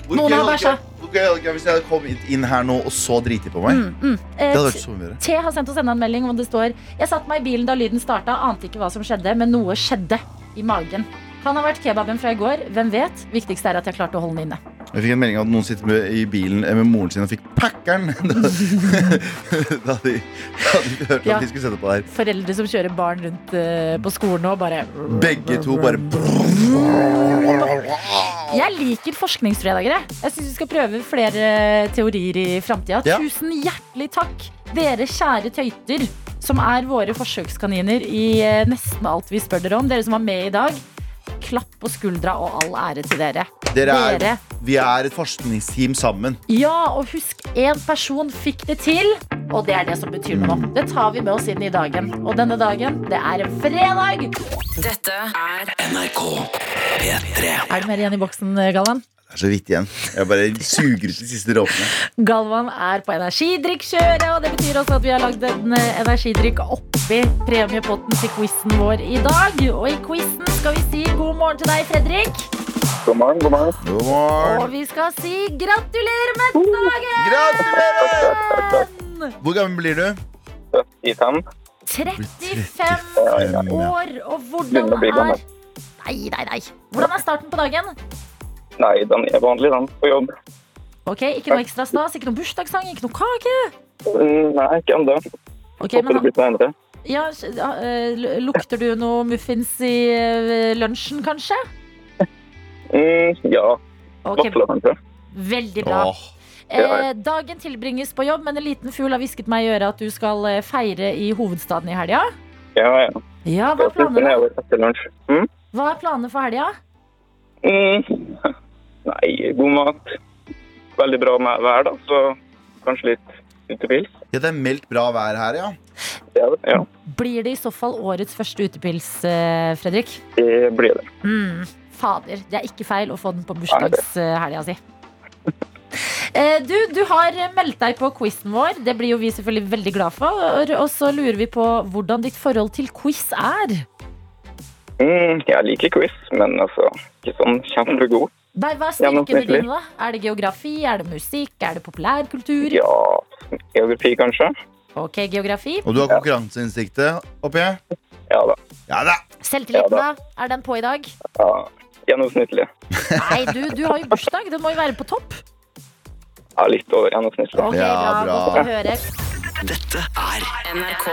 Speaker 3: Hvor
Speaker 2: Noen
Speaker 3: gøy
Speaker 2: har
Speaker 3: hadde
Speaker 2: bæsja.
Speaker 3: ikke- Hvor gøy hadde ikke jeg hvis jeg hadde kommet inn her nå og så driti på meg?
Speaker 2: mm, mm. Eh,
Speaker 3: Det hadde vært så mye bedre.
Speaker 2: T har sendt oss enda en melding hvor det står Jeg satt meg i bilen da lyden starta, ante ikke hva som skjedde, men noe skjedde i magen. Kan ha vært kebaben fra i går, hvem vet? Viktigste er at jeg klarte å holde den inne.
Speaker 3: Jeg fikk en melding om at noen sitter med, i bilen eh, med moren sin og fikk packeren. Da, da hadde de da hadde de ikke hørt
Speaker 2: Ja.
Speaker 3: at de skulle sette på der.
Speaker 2: Foreldre som kjører barn rundt eh, på skolen og bare
Speaker 3: Begge to bare
Speaker 2: Jeg liker forskningsfredager, jeg. Jeg syns vi skal prøve flere teorier i framtida.
Speaker 3: Ja.
Speaker 2: Tusen hjertelig takk, dere kjære tøyter, som er våre forsøkskaniner i eh, nesten alt vi spør dere om. Dere som var med i dag. Klapp på skuldra og all ære til dere.
Speaker 3: Dere
Speaker 2: Dere.
Speaker 3: er, vi er et forskningsteam sammen.
Speaker 2: Ja, og husk, én person fikk det til, og det er det som betyr noe.
Speaker 3: Mm.
Speaker 2: Det tar vi med oss inn i dagen. Og denne dagen, det er en fredag! Er det mer igjen i boksen, Galvan?
Speaker 3: Det er så vidt igjen. Jeg bare suger ut de siste dråpene.
Speaker 2: Galvan er på energidrikkskjøret, og det betyr også at vi har lagd en eh, energidrikk oppi premiepotten til quizen vår i dag. Og i quizen skal vi si god morgen til deg, Fredrik.
Speaker 7: God morgen, god morgen.
Speaker 3: God morgen.
Speaker 2: Og vi skal si gratulerer med dagen!
Speaker 3: Gratulerer! Hvor gammel blir du?
Speaker 7: 35.
Speaker 2: 35
Speaker 3: Fem, ja.
Speaker 2: år, og hvordan
Speaker 7: Begynner å bli
Speaker 2: er
Speaker 7: gammel.
Speaker 2: Nei, nei, nei. Hvordan er starten på dagen?
Speaker 7: Nei, den er vanlig, den. På jobb.
Speaker 2: Ok, Ikke noe ekstra stas, ikke noe bursdagssang, ikke noe kake.
Speaker 7: Mm, Nei, ikke ennå.
Speaker 2: Ok,
Speaker 7: Håper
Speaker 2: men
Speaker 7: det blir senere.
Speaker 2: ja, s- ja, eh, l- Lukter du noe muffins i eh, lunsjen, kanskje?
Speaker 7: Mm, ja,
Speaker 2: Ok,
Speaker 7: vafler kanskje.
Speaker 2: Veldig bra.
Speaker 3: Åh.
Speaker 7: ja.
Speaker 2: Eh, dagen tilbringes på jobb, men en liten fugl har hvisket meg i øret at du skal eh, feire i hovedstaden i helga.
Speaker 7: Ja, ja.
Speaker 2: Ja, hva
Speaker 7: Da
Speaker 2: er
Speaker 7: flytter
Speaker 2: planene,
Speaker 7: nedover etter lunsj. Mm?
Speaker 2: hva er planene for helga?
Speaker 7: Mm. Nei, god mat. Veldig bra med vær, da, så kanskje litt utepils.
Speaker 3: Ja, det er meldt bra vær her, ja.
Speaker 7: Ja, ja,
Speaker 2: Blir det i så fall årets første utepils, eh, Fredrik?
Speaker 7: det blir det.
Speaker 2: Mm, fader, det er ikke feil å få den på bursdagshelga si. Eh, Du, du har meldt deg på quizen vår. Det blir jo vi selvfølgelig veldig glad for. Og så lurer vi på hvordan ditt forhold til quiz er.
Speaker 7: Mm, jeg liker quiz, men altså ikke sånn kjempegod.
Speaker 2: Nei, hva er
Speaker 7: Gjennomsnittlig.
Speaker 2: styrkene dine, da? Er det geografi, er det musikk, er det populærkultur?
Speaker 7: Ja, geografi kanskje?
Speaker 2: Ok, geografi.
Speaker 3: Og du har konkurranseinstinktet oppi her?
Speaker 7: Ja da.
Speaker 3: Ja da!
Speaker 2: Selvtilliten,
Speaker 7: Ja,
Speaker 2: da? Er den på i dag?
Speaker 7: Ja, gjennomsnittlig.
Speaker 2: Nei, du, du har jo bursdag. Den må jo være på topp.
Speaker 7: Ja, litt over gjennomsnittlig.
Speaker 2: Ok,
Speaker 3: Ja,
Speaker 2: bra. Godt å
Speaker 3: bra.
Speaker 2: høre.
Speaker 8: NRK.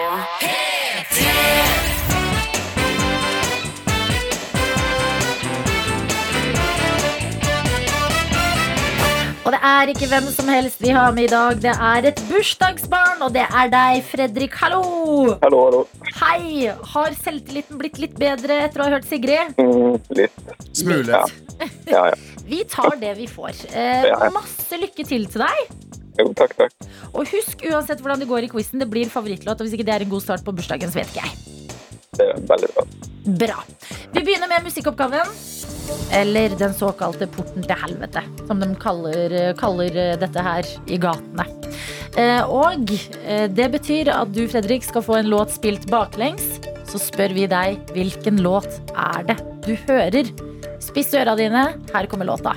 Speaker 2: Og det er ikke hvem som helst vi har med i dag. Det er et bursdagsbarn, og det er deg, Fredrik. Hallo!
Speaker 7: Hallo, hallo.
Speaker 2: Hei! Har selvtilliten blitt litt bedre etter å ha hørt Sigrid?
Speaker 7: Mm, litt.
Speaker 3: Smule.
Speaker 7: Ja. Ja, ja.
Speaker 2: Vi tar det vi får. Eh,
Speaker 7: Ja.
Speaker 2: masse lykke til til deg.
Speaker 7: Jo, takk, takk.
Speaker 2: Og husk uansett hvordan det går i quizen, det blir favorittlåt. Og hvis ikke det er en god start på bursdagen, så vet ikke jeg.
Speaker 7: Det er veldig bra.
Speaker 2: Bra. Vi begynner med musikkoppgaven. Eller den såkalte porten til helvete, som de kaller, kaller eh, dette her i gatene. Eh, og eh, det betyr at du, Fredrik, skal få en låt spilt baklengs. Så spør vi deg hvilken låt er det du hører. Spiss øra dine, her kommer låta.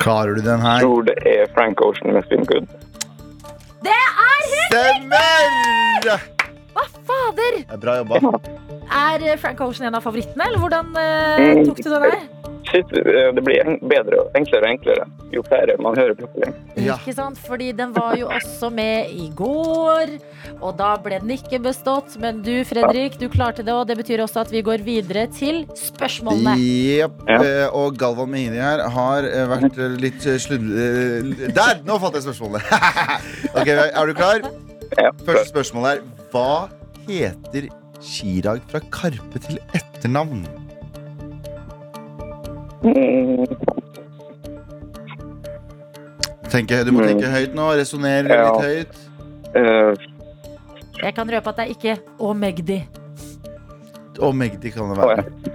Speaker 3: Klarer du den her?
Speaker 7: Tror det er Frank Ocean med Spin Good.
Speaker 2: Det er helt
Speaker 3: Stemmer! Det
Speaker 2: Hva fader!
Speaker 3: er bra jobba.
Speaker 2: Er eh, Frank Ocean en av favorittene, eller hvordan
Speaker 7: Mm.
Speaker 2: eh, tok du den der?
Speaker 7: Shit, eh, det blir en- bedre og enklere og enklere jo flere man hører plutselig.
Speaker 3: Ja.
Speaker 2: Ikke sant? Fordi den var jo også med i går, og da ble den ikke bestått. Men du, Fredrik, du klarte det, og det betyr også at vi går videre til spørsmålene.
Speaker 3: Jepp.
Speaker 7: Ja.
Speaker 3: eh, Og Galvan Mehini her har eh, vært eh, litt eh, slund... eh, Der! Nå fant jeg spørsmålet. ok, Er du klar?
Speaker 7: Ja,
Speaker 3: Første spørsmål er Hva heter Chirag fra Karpe til etternavn?
Speaker 7: Mm,
Speaker 3: Tenk, du må tenke høyt nå. Resonnere
Speaker 7: Mm. Ja.
Speaker 3: litt høyt.
Speaker 7: eh,
Speaker 2: Jeg kan røpe at det er ikke Å Magdi.
Speaker 3: Og Magdi kan det
Speaker 7: hva
Speaker 3: være.
Speaker 7: er det?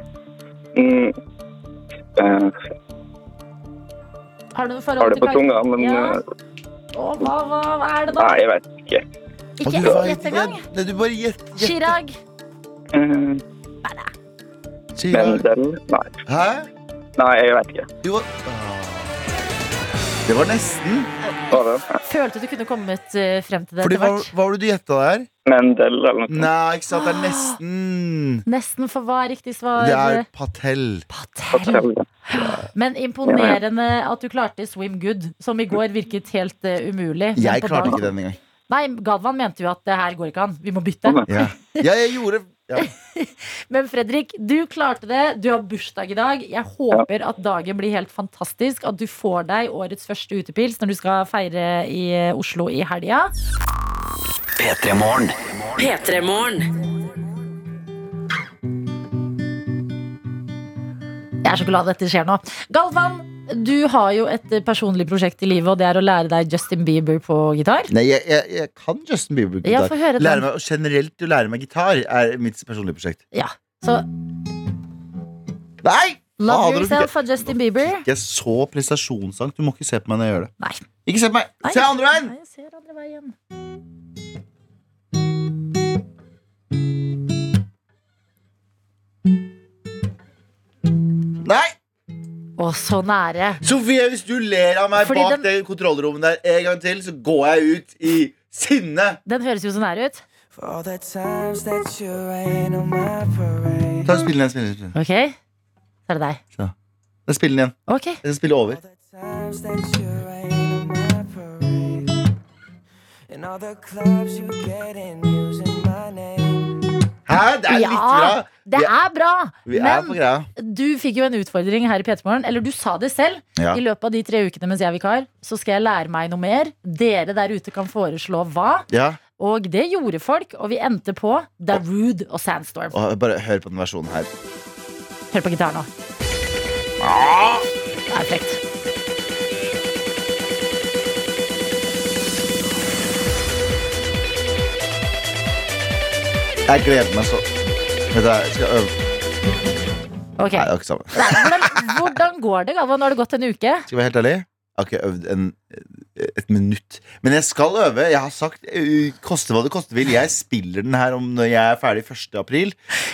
Speaker 7: Mm, eh,
Speaker 2: Har du noe
Speaker 7: har
Speaker 2: forhold
Speaker 7: det
Speaker 2: til
Speaker 7: på tunga, men
Speaker 2: Ja.
Speaker 7: eh,
Speaker 2: Å, hva, hva, hva er det da?
Speaker 7: nei, jeg vet ikke.
Speaker 3: Og
Speaker 2: Ikke
Speaker 3: du vet
Speaker 2: gjett
Speaker 3: ikke.
Speaker 2: engang.
Speaker 3: Nei, du bare gjett. gjett.
Speaker 2: Chirag.
Speaker 7: Mm,
Speaker 3: Chirag.
Speaker 7: Mendel? Nei.
Speaker 3: Hæ?
Speaker 7: nei, jeg vet ikke.
Speaker 3: Jo. Ah. Det var nesten.
Speaker 7: Hva er det?
Speaker 2: Følte du kunne kommet eh, frem til det
Speaker 3: Fordi
Speaker 2: etter
Speaker 3: hva,
Speaker 2: hvert.
Speaker 3: hva var det du gjetta der?
Speaker 7: Mendel eller noe sånt.
Speaker 3: Nei, ikke sant. Det er nesten.
Speaker 2: Nesten, for hva er riktig svar?
Speaker 3: Det er Patel.
Speaker 2: Patel. Men imponerende at du klarte Swim Good, som i går virket helt eh, umulig. Men
Speaker 3: Jeg
Speaker 2: på
Speaker 3: klarte
Speaker 2: dag-
Speaker 3: ikke den engang.
Speaker 2: Nei, Galvan mente jo at det her går ikke an. Vi må bytte.
Speaker 7: Å, nei.
Speaker 3: Ja. ja, jeg gjorde ja.
Speaker 2: Men Fredrik, du klarte det. Du har bursdag i dag. Jeg håper at dagen blir helt fantastisk. At du får deg årets første utepils når du skal feire i eh, Oslo i helga.
Speaker 8: P3-morgen.
Speaker 2: Jeg er så glad dette skjer nå. Galvan, du har jo et eh, personlig prosjekt i livet, og det er å lære deg Justin Bieber på gitar.
Speaker 3: Nei, jeg, jeg, jeg kan Justin Bieber.
Speaker 2: Ja,
Speaker 3: gitar.
Speaker 2: få høre den.
Speaker 3: Lære meg, og generelt å lære meg gitar er mitt personlige prosjekt.
Speaker 2: Ja. Så
Speaker 3: Nei!
Speaker 2: Love
Speaker 3: Fader, du Ah, fikk-
Speaker 2: Yourself av Justin Bieber.
Speaker 3: Jeg så prestasjonsangst. Du må ikke se på meg når jeg gjør det.
Speaker 2: Nei.
Speaker 3: Ikke se på meg!
Speaker 2: Nei.
Speaker 3: Se andre veien!
Speaker 2: Nei, jeg ser andre veien.
Speaker 3: Nei!
Speaker 2: Å, så nære.
Speaker 3: Sofie, hvis du ler av meg
Speaker 2: Fordi
Speaker 3: bak
Speaker 2: den-
Speaker 3: det kontrollrommet der en gang til, så går jeg ut i sinne.
Speaker 2: Den høres jo så nær ut.
Speaker 3: Ta og Spill den igjen. Spill den igjen.
Speaker 2: Ok, så er det deg.
Speaker 3: Jeg spiller den igjen.
Speaker 2: Ok,
Speaker 3: Jeg skal spille over. Hæ? Det er litt bra.
Speaker 2: Ja, det
Speaker 3: Vi-
Speaker 2: er bra!
Speaker 3: Vi er på
Speaker 2: Men
Speaker 3: greia.
Speaker 2: du fikk jo en utfordring her i P3morgen. Eller du sa det selv.
Speaker 3: Ja.
Speaker 2: I løpet av de tre ukene mens jeg er vikar, så skal jeg lære meg noe mer. Dere der ute kan foreslå hva.
Speaker 3: ja.
Speaker 2: Og det gjorde folk, og vi endte på Darude og Sandstorm.
Speaker 3: Å, bare hør på den versjonen her.
Speaker 2: Hør på gitaren nå. Det er frekt.
Speaker 3: Jeg gleder meg så Vet du, jeg skal øve
Speaker 2: Ok,
Speaker 3: Nei, altså. det er ikke samme
Speaker 2: Nei, hvordan, hvordan går det, Galvan? Har det gått en uke?
Speaker 3: Skal jeg være helt ærlig Jeg har ikke øvd en, et minutt Men jeg skal øve Jeg har sagt ø, Koste hva det koste vil Jeg spiller den her om når jeg er ferdig 1. april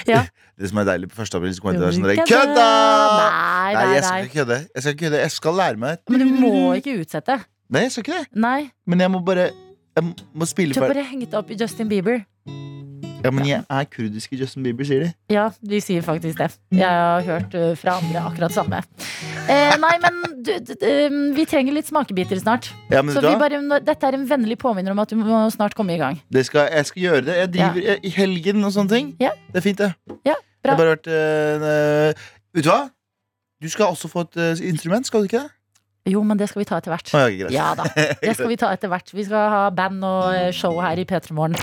Speaker 2: Ja.
Speaker 3: Det som er deilig på 1. april Så kommer jeg til å være sånn der,
Speaker 2: Kødda!
Speaker 3: Kødda!
Speaker 2: Nei, nei,
Speaker 3: jeg skal
Speaker 2: nei.
Speaker 3: ikke kødde Jeg skal ikke kødde Jeg skal lære meg
Speaker 2: Men du må ikke utsette.
Speaker 3: Nei, jeg skal ikke det
Speaker 2: Nei.
Speaker 3: Men jeg må bare Jeg må spille
Speaker 2: Du har
Speaker 3: for
Speaker 2: bare hengt opp i Justin Bieber.
Speaker 3: Ja, men jeg er kurdiske Justin Bieber, sier de
Speaker 2: Ja, de sier faktisk det. Jeg har hørt eh, fra andre akkurat samme. Eh, nei, men du, d- d- eh, vi trenger litt smakebiter snart.
Speaker 3: Ja, men
Speaker 2: Så
Speaker 3: vet du
Speaker 2: vi
Speaker 3: hva?
Speaker 2: bare, dette er en vennlig påminner om at du må snart komme i gang.
Speaker 3: Det skal, jeg skal gjøre det. Jeg driver jeg- i helgen og sånne ting.
Speaker 2: Ja.
Speaker 3: Det er fint, det.
Speaker 2: Ja,
Speaker 3: det
Speaker 2: bra.
Speaker 3: har bare vært eh, en, eh, Vet du hva? Du skal også få et eh, instrument, skal du ikke det?
Speaker 2: Jo, men det skal vi ta etter hvert.
Speaker 3: Å, ja, greit.
Speaker 2: Ja da, det skal vi ta etter hvert. Vi skal ha band og eh, show her i P3 Morgen.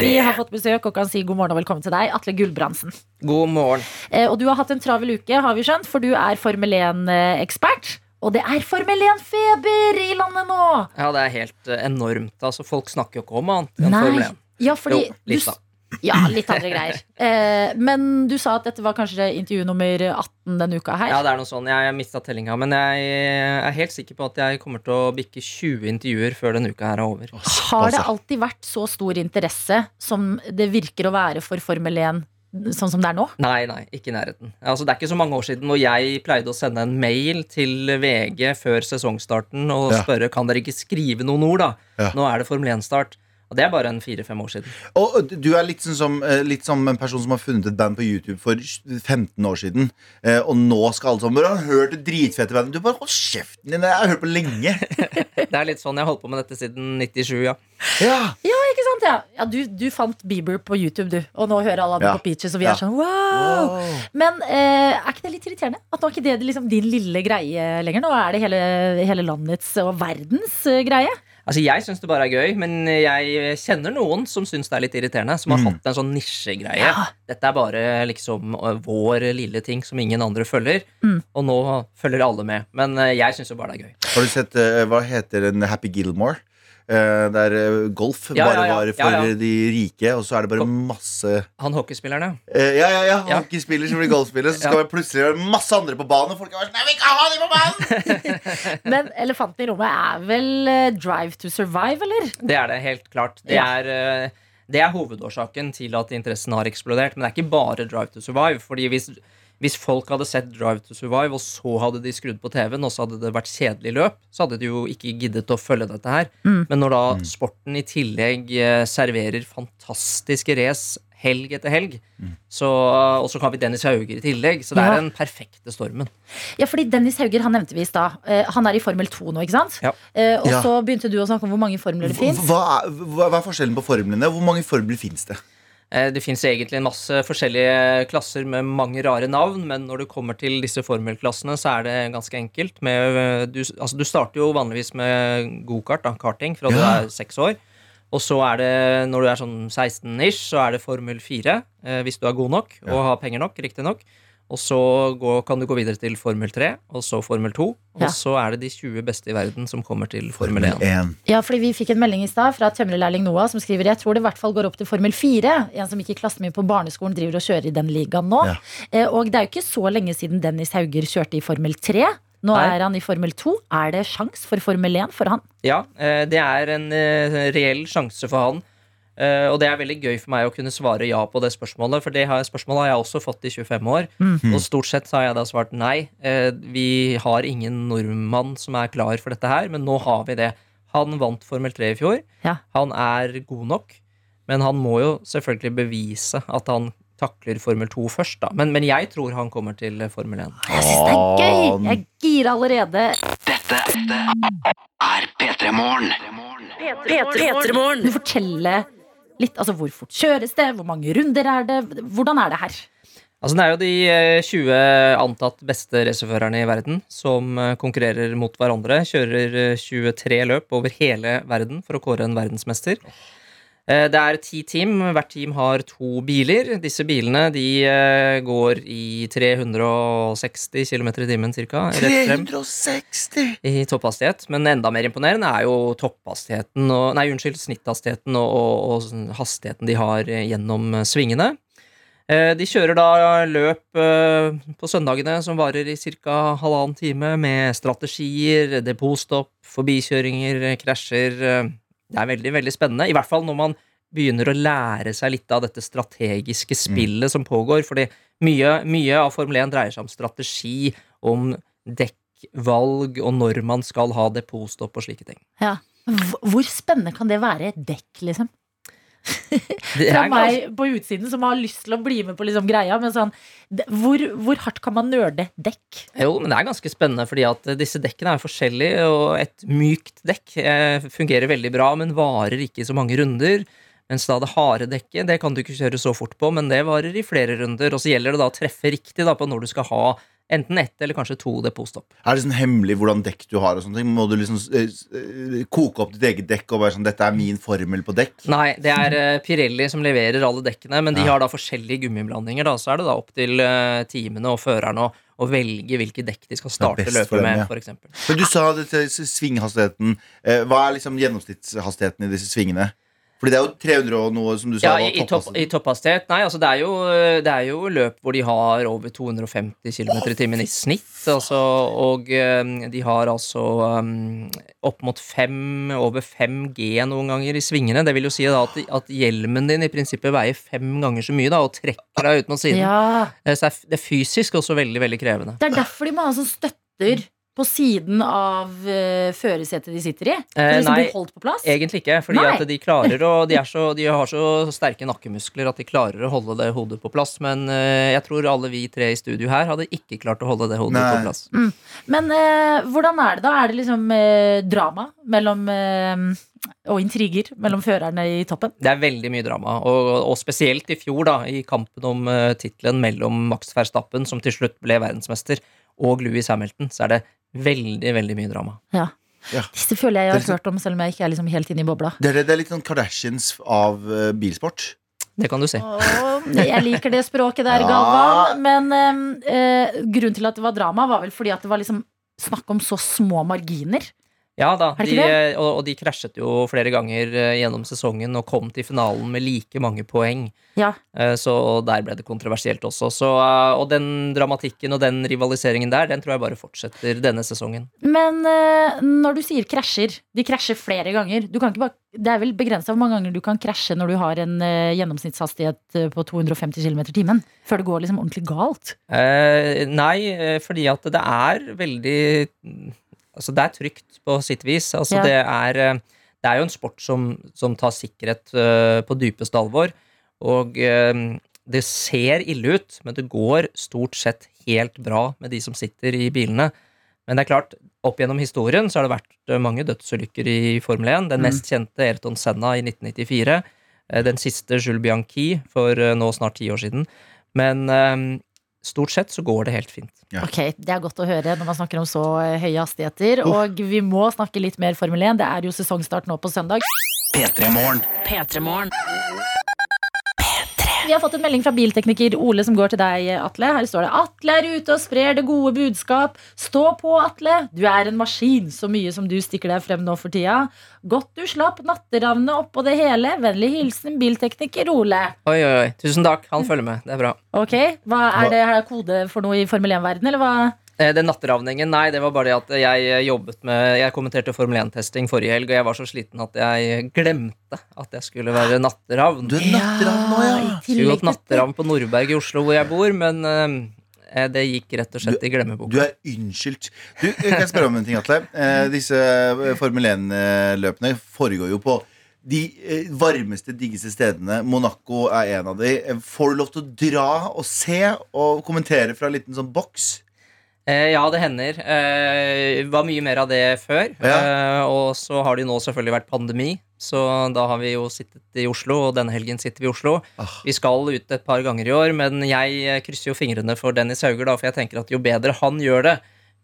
Speaker 2: Vi har fått besøk og kan si god morgen og velkommen til deg, Atle Gulbrandsen.
Speaker 6: God morgen.
Speaker 2: Eh, Og du har hatt en travel uke, har vi skjønt, for du er Formel 1-ekspert. Og det er Formel 1-feber i landet nå!
Speaker 9: Ja, det er helt eh, enormt. Altså, folk snakker jo ikke om annet enn Formel 1.
Speaker 2: Ja, fordi
Speaker 9: jo,
Speaker 2: du
Speaker 9: litt
Speaker 2: s-
Speaker 9: da.
Speaker 2: Ja, litt andre greier. Eh, men du sa at dette var kanskje intervju nummer 18 denne uka her.
Speaker 9: Ja, det er noe sånn. Jeg har mista tellinga, men jeg eh, er helt sikker på at jeg kommer til å bikke 20 intervjuer før denne uka her er over.
Speaker 2: Har det
Speaker 9: altså.
Speaker 2: alltid vært så stor interesse som det virker å være for Formel 1 sånn som det er nå?
Speaker 9: Nei, nei, ikke i nærheten. Altså, det er ikke så mange år siden når jeg pleide å sende en mail til VG før sesongstarten og
Speaker 3: Ja.
Speaker 9: spørre kan dere ikke skrive noen ord, da.
Speaker 3: Ja.
Speaker 9: Nå er det Formel 1-start. Og det er bare en fire-fem år siden.
Speaker 3: Og og du er litt sånn som, eh, litt som en person som har funnet et band på YouTube for 15 år siden, eh, og nå skal alle sammen bare ha hørt det dritfete bandet. Du bare hold kjeften din, jeg har hørt på lenge.
Speaker 9: Det er litt sånn jeg har holdt på med dette siden 97, ja.
Speaker 3: Ja.
Speaker 2: Ikke sant, ja. ja du, du fant Bieber på YouTube, du. Og nå hører alle andre
Speaker 3: Ja.
Speaker 2: på Peaches, og vi
Speaker 3: Ja.
Speaker 2: er sånn wow! Men eh, er ikke det litt irriterende? At nå er ikke det liksom din lille greie lenger? Nå er det hele, hele landets og verdens eh, greie.
Speaker 9: Altså, Jeg syns det bare er gøy, men jeg kjenner noen som syns det er litt irriterende. Som har hatt en sånn nisjegreie. Dette er bare liksom øh, vår lille ting som ingen andre følger.
Speaker 2: Mm.
Speaker 9: Og nå følger alle med. Men øh, jeg syns jo bare det er gøy.
Speaker 3: Har du sett eh, Hva heter den Happy Gilmore? Eh, der eh, golf
Speaker 9: Ja,
Speaker 3: bare
Speaker 9: ja, ja.
Speaker 3: var for
Speaker 9: Ja, ja.
Speaker 3: de rike, og så er det bare masse
Speaker 9: Han hockeyspilleren, ja.
Speaker 3: Eh, ja, ja, ja.
Speaker 9: Ja.
Speaker 3: Hockeyspiller som blir golfspiller, så skal det plutselig være masse andre på banen. Og folk er bare sånn Nei, vi kan ha de på banen!
Speaker 2: Men elefanten i rommet er vel eh, Drive to Survive, eller?
Speaker 9: Det er det, helt klart. Det,
Speaker 2: Ja.
Speaker 9: er, eh, det er hovedårsaken til at interessen har eksplodert. Men det er ikke bare Drive to Survive. Fordi hvis, hvis folk hadde sett Drive to Survive, og så hadde de skrudd på TV-en, og så hadde det vært kjedelig løp, så hadde de jo ikke giddet å følge dette her.
Speaker 2: Mm.
Speaker 9: Men når da sporten i tillegg eh, serverer fantastiske race helg etter helg, så, og så har vi Dennis Hauger i tillegg, så det
Speaker 2: Ja.
Speaker 9: er den perfekte stormen.
Speaker 2: Ja, fordi Dennis Hauger han nevnte vi i stad. Eh, han er i Formel 2 nå, ikke sant?
Speaker 9: Ja.
Speaker 2: Eh, og
Speaker 3: Ja.
Speaker 2: så begynte du å snakke om hvor mange formler det fins.
Speaker 3: Hva, er- hva, hva er forskjellen på formlene? Hvor mange formler fins det?
Speaker 9: Eh, Det fins egentlig en masse forskjellige klasser med mange rare navn, men når du kommer til disse formelklassene, så er det ganske enkelt. Med, eh, du, altså, du starter jo vanligvis med gokart, da, karting, fra du
Speaker 3: Ja.
Speaker 9: er seks år. Og så er det, når du er sånn 16-ish, så er det Formel 4, eh, hvis du er god nok og har penger nok, riktignok. Og så gå- kan du gå videre til Formel 3, og så Formel 2. Og
Speaker 2: Ja.
Speaker 9: så er det de 20 beste i verden som kommer til Formel 1.
Speaker 3: En.
Speaker 2: Ja, fordi Vi fikk en melding i stad fra tømrerlærling Noah som skriver jeg tror det i hvert fall går opp til Formel 4. En som gikk i klassen min på barneskolen, driver og kjører i den ligaen nå.
Speaker 3: Ja.
Speaker 2: Eh, Og det er jo ikke så lenge siden Dennis Hauger kjørte i Formel 3. Nå
Speaker 9: Nei.
Speaker 2: er han i Formel 2. Er det sjans for Formel 1 for han?
Speaker 9: Ja, eh, det er en eh, reell sjanse for han. Eh, Og det er veldig gøy for meg å kunne svare ja på det spørsmålet, for det har, spørsmålet har jeg også fått i 25 år. Og stort sett så har jeg da svart nei. Eh, Vi har ingen nordmann som er klar for dette her, men nå har vi det. Han vant Formel 3 i fjor.
Speaker 2: Ja.
Speaker 9: Han er god nok, men han må jo selvfølgelig bevise at han takler Formel 2 først, da. Men, men jeg tror han kommer til Formel 1.
Speaker 2: Jeg syns det er gøy! Jeg girer allerede.
Speaker 8: P3morgen.
Speaker 2: Kan du fortelle litt? Altså, hvor fort kjøres det? Hvor mange runder er det? Hvordan er det her?
Speaker 9: Altså Det er jo de eh, 20 antatt beste racerførerne i verden som eh, konkurrerer mot hverandre. Kjører eh, 23 løp over hele verden for å kåre en verdensmester. Eh, Det er ti team. Hvert team har to biler. Disse bilene de eh, går i 360 km i timen ca.
Speaker 3: 360!
Speaker 9: I topphastighet. Men enda mer imponerende er jo topphastigheten og, Nei, unnskyld, snitthastigheten og, og, og sånn hastigheten de har eh, gjennom eh, svingene. Eh, De kjører da løp eh, på søndagene som varer i ca. halvannen time, med strategier, depotstopp, forbikjøringer, eh, krasjer eh. Det er veldig, veldig spennende. I hvert fall når man begynner å lære seg litt av dette strategiske spillet som pågår. Fordi mye, mye av Formel 1 dreier seg om strategi, om dekkvalg, og når man skal ha depotstopp og slike ting.
Speaker 2: Hv- Hvor spennende kan det være? Et dekk, liksom.
Speaker 9: Det
Speaker 2: Fra
Speaker 9: er ganske-
Speaker 2: meg på utsiden som har lyst til å bli med på liksom greia, men sånn d- Hvor, hvor hardt kan man nerde dekk?
Speaker 9: Jo, men det er ganske spennende, fordi at eh, disse dekkene er forskjellige, og et mykt dekk eh, fungerer veldig bra, men varer ikke i så mange runder. Mens da det harde dekket, det kan du ikke kjøre så fort på, men det varer i flere runder. Og så gjelder det da å treffe riktig da på når du skal ha enten ett eller kanskje to depotstopp.
Speaker 3: Er det sånn hemmelig hvordan dekk du har? og sånne ting? Må du liksom eh, s- eh, koke opp ditt eget dekk og være sånn 'Dette er min formel på dekk'?
Speaker 9: Nei, det er eh, Pirelli som leverer alle dekkene, men de har da forskjellige gummiblandinger, da. Så er det da opp til eh, teamene og førerne å, å velge hvilke dekk de skal
Speaker 3: Det
Speaker 9: starte
Speaker 3: er best for dem,
Speaker 9: løpet med,
Speaker 3: ja.
Speaker 9: for eksempel.
Speaker 3: Men du sa det til s- svinghastigheten. Eh, Hva er liksom gjennomsnittshastigheten i disse svingene? Fordi det er jo 300 og noe, som du sa.
Speaker 9: Ja,
Speaker 3: var
Speaker 9: i, i, topp,
Speaker 3: topphastigheten.
Speaker 9: i topphastighet. Nei, altså det er, jo, det er jo løp hvor de har over 250 km i timen i snitt. Altså, og eh, de har altså um, opp mot 5, over 5G noen ganger i svingene. Det vil jo si da at, at hjelmen din i prinsippet veier fem ganger så mye da, og trekker deg ut mot siden.
Speaker 2: Ja,
Speaker 9: Eh, Så det er, f- det er fysisk også veldig, veldig krevende.
Speaker 2: Det er derfor de må ha sånn støtter på siden av uh, førersetet de sitter i. For
Speaker 9: Eh,
Speaker 2: å liksom
Speaker 9: nei,
Speaker 2: bli holdt på plass.
Speaker 9: Egentlig ikke, fordi
Speaker 2: Nei.
Speaker 9: at de klarer å de, er så, de har så sterke nakkemuskler at de klarer å holde det hodet på plass. Men eh, jeg tror alle vi tre i studio her hadde ikke klart å holde det hodet
Speaker 3: Nei.
Speaker 9: på plass.
Speaker 2: Men eh, hvordan er det da? Er det liksom eh, drama mellom eh, og intriger mellom førerne i toppen?
Speaker 9: Det er veldig mye drama, og, og spesielt i fjor, da, i kampen om uh, tittelen mellom Max Verstappen, som til slutt ble verdensmester, og Louis Hamilton, så er det veldig, veldig mye drama.
Speaker 2: Disse føler jeg jeg
Speaker 3: Det er
Speaker 2: har hørt om, selv om jeg ikke er liksom helt inne i bobla.
Speaker 3: Det er, det er litt sånn Kardashians av eh, bilsport.
Speaker 9: Det kan du si.
Speaker 2: Åh, jeg liker det språket der,
Speaker 3: Ja.
Speaker 2: Galvan. Men ehm, eh, grunnen til at det var drama, var vel fordi at det var liksom snakk om så små marginer.
Speaker 9: Ja da,
Speaker 2: Er det
Speaker 9: de,
Speaker 2: ikke
Speaker 9: eh, og, og de krasjet jo flere ganger eh, gjennom sesongen og kom til finalen med like mange poeng.
Speaker 2: Ja.
Speaker 9: Eh, Så der ble det kontroversielt også. Så, eh, og den dramatikken og den rivaliseringen der, den tror jeg bare fortsetter denne sesongen.
Speaker 2: Men eh, når du sier krasjer, de krasjer flere ganger. Du kan ikke bare, det er vel begrensa hvor mange ganger du kan krasje når du har en eh, gjennomsnittshastighet eh, på 250 km i timen. Før det går liksom ordentlig galt.
Speaker 9: Eh, nei, eh, fordi at det er veldig Altså, det er trygt på sitt vis.
Speaker 2: Ja.
Speaker 9: Altså, det, er, eh, det er jo en sport som, som tar sikkerhet eh, på dypeste alvor. Og eh, det ser ille ut, men det går stort sett helt bra med de som sitter i bilene. Men det er klart, opp gjennom historien så har det vært eh, mange dødsulykker i Formel 1. Den mest kjente Ayrton Senna i 1994. eh, Den siste Jules Bianchi for eh, nå snart ti år siden. Men eh, stort sett så går det helt fint.
Speaker 3: Ja.
Speaker 2: Ok, Det er godt å høre når man snakker om så eh, høye hastigheter. Og vi må snakke litt mer Formel 1. Det er jo sesongstart nå på søndag.
Speaker 8: P3-morgen.
Speaker 2: Vi har fått en melding fra biltekniker Ole som går til deg, Atle. Her står det Atle er ute og sprer det gode budskap. Stå på, Atle. Du er en maskin, så mye som du stikker deg frem nå for tida. Godt du slapp natteravnet oppå det hele. Vennlig hilsen biltekniker Ole.
Speaker 9: Oi, oi, oi. Tusen takk. Han følger med. Det er bra.
Speaker 2: Ok, hva Er det her kode for noe i Formel 1-verden, eller hva?
Speaker 9: Eh, Den natteravningen, nei, det var bare det at jeg eh, jobbet med Jeg kommenterte Formel 1-testing forrige helg, og jeg var så sliten at jeg glemte at jeg skulle være natteravn.
Speaker 3: Du er natteravn nå, ja!
Speaker 2: i
Speaker 9: Skulle gått
Speaker 2: tillegg til-
Speaker 9: natteravn på Nordberg i Oslo, hvor jeg bor, men eh, det gikk rett og slett i glemmeboka.
Speaker 3: Du er unnskyldt. Du, kan jeg spørre om en ting, Atle? Eh, disse eh, Formel 1-løpene foregår jo på de eh, varmeste, diggeste stedene. Monaco er en av de. Eh, Får du lov til å dra og se og kommentere fra en liten sånn boks?
Speaker 9: Eh, ja, det hender. Eh, var mye mer av det før. Eh, og så har det jo nå selvfølgelig vært pandemi, så da har vi jo sittet i Oslo, og denne helgen sitter vi i Oslo.
Speaker 3: Ah.
Speaker 9: Vi skal ut et par ganger i år, men jeg eh, krysser jo fingrene for Dennis Hauger, da, for jeg tenker at jo bedre han gjør det,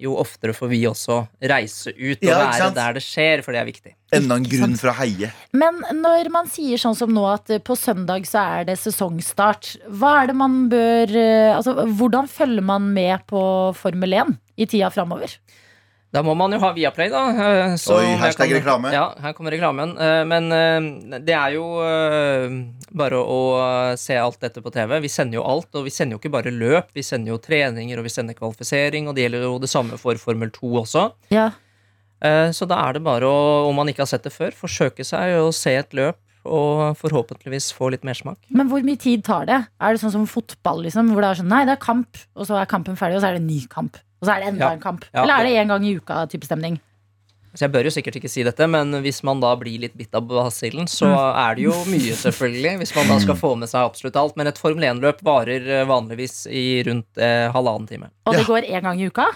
Speaker 9: jo oftere får vi også reise ut og
Speaker 3: Ja, ikke
Speaker 9: være
Speaker 3: sant?
Speaker 9: der det skjer, for det er viktig.
Speaker 3: Enda en grunn for å heie.
Speaker 2: Men når man sier sånn som nå at eh, på søndag så er det sesongstart, hva er det man bør eh, Altså, hvordan følger man med på Formel 1 i tida framover?
Speaker 9: Da må man jo ha Viaplay, da. eh, så
Speaker 3: Oi,
Speaker 9: her
Speaker 3: hashtag
Speaker 9: kommer-
Speaker 3: reklame.
Speaker 9: Ja, her kommer reklamen. Eh, Men eh, det er jo eh, bare å eh, se alt dette på TV. Vi sender jo alt, og vi sender jo ikke bare løp. Vi sender jo treninger, og vi sender kvalifisering, og det gjelder jo det samme for Formel 2 også.
Speaker 2: Ja.
Speaker 9: Eh, Så da er det bare å, om man ikke har sett det før, forsøke seg og se et løp, og forhåpentligvis få litt mersmak.
Speaker 2: Men hvor mye tid tar det? Er det sånn som fotball, liksom? Hvor det er sånn nei, det er kamp, og så er kampen ferdig, og så er det en ny kamp. Og så er det enda
Speaker 9: Ja.
Speaker 2: en kamp.
Speaker 9: Ja.
Speaker 2: Eller er det én gang i uka type stemning?
Speaker 9: Så jeg bør jo sikkert ikke si dette, men hvis man da blir litt bitt av basillen, så er det jo mye, selvfølgelig. Hvis man da skal få med seg absolutt alt. Men et Formel 1-løp varer eh, vanligvis i rundt eh, halvannen time.
Speaker 2: Og det
Speaker 3: Ja.
Speaker 2: går én gang i uka?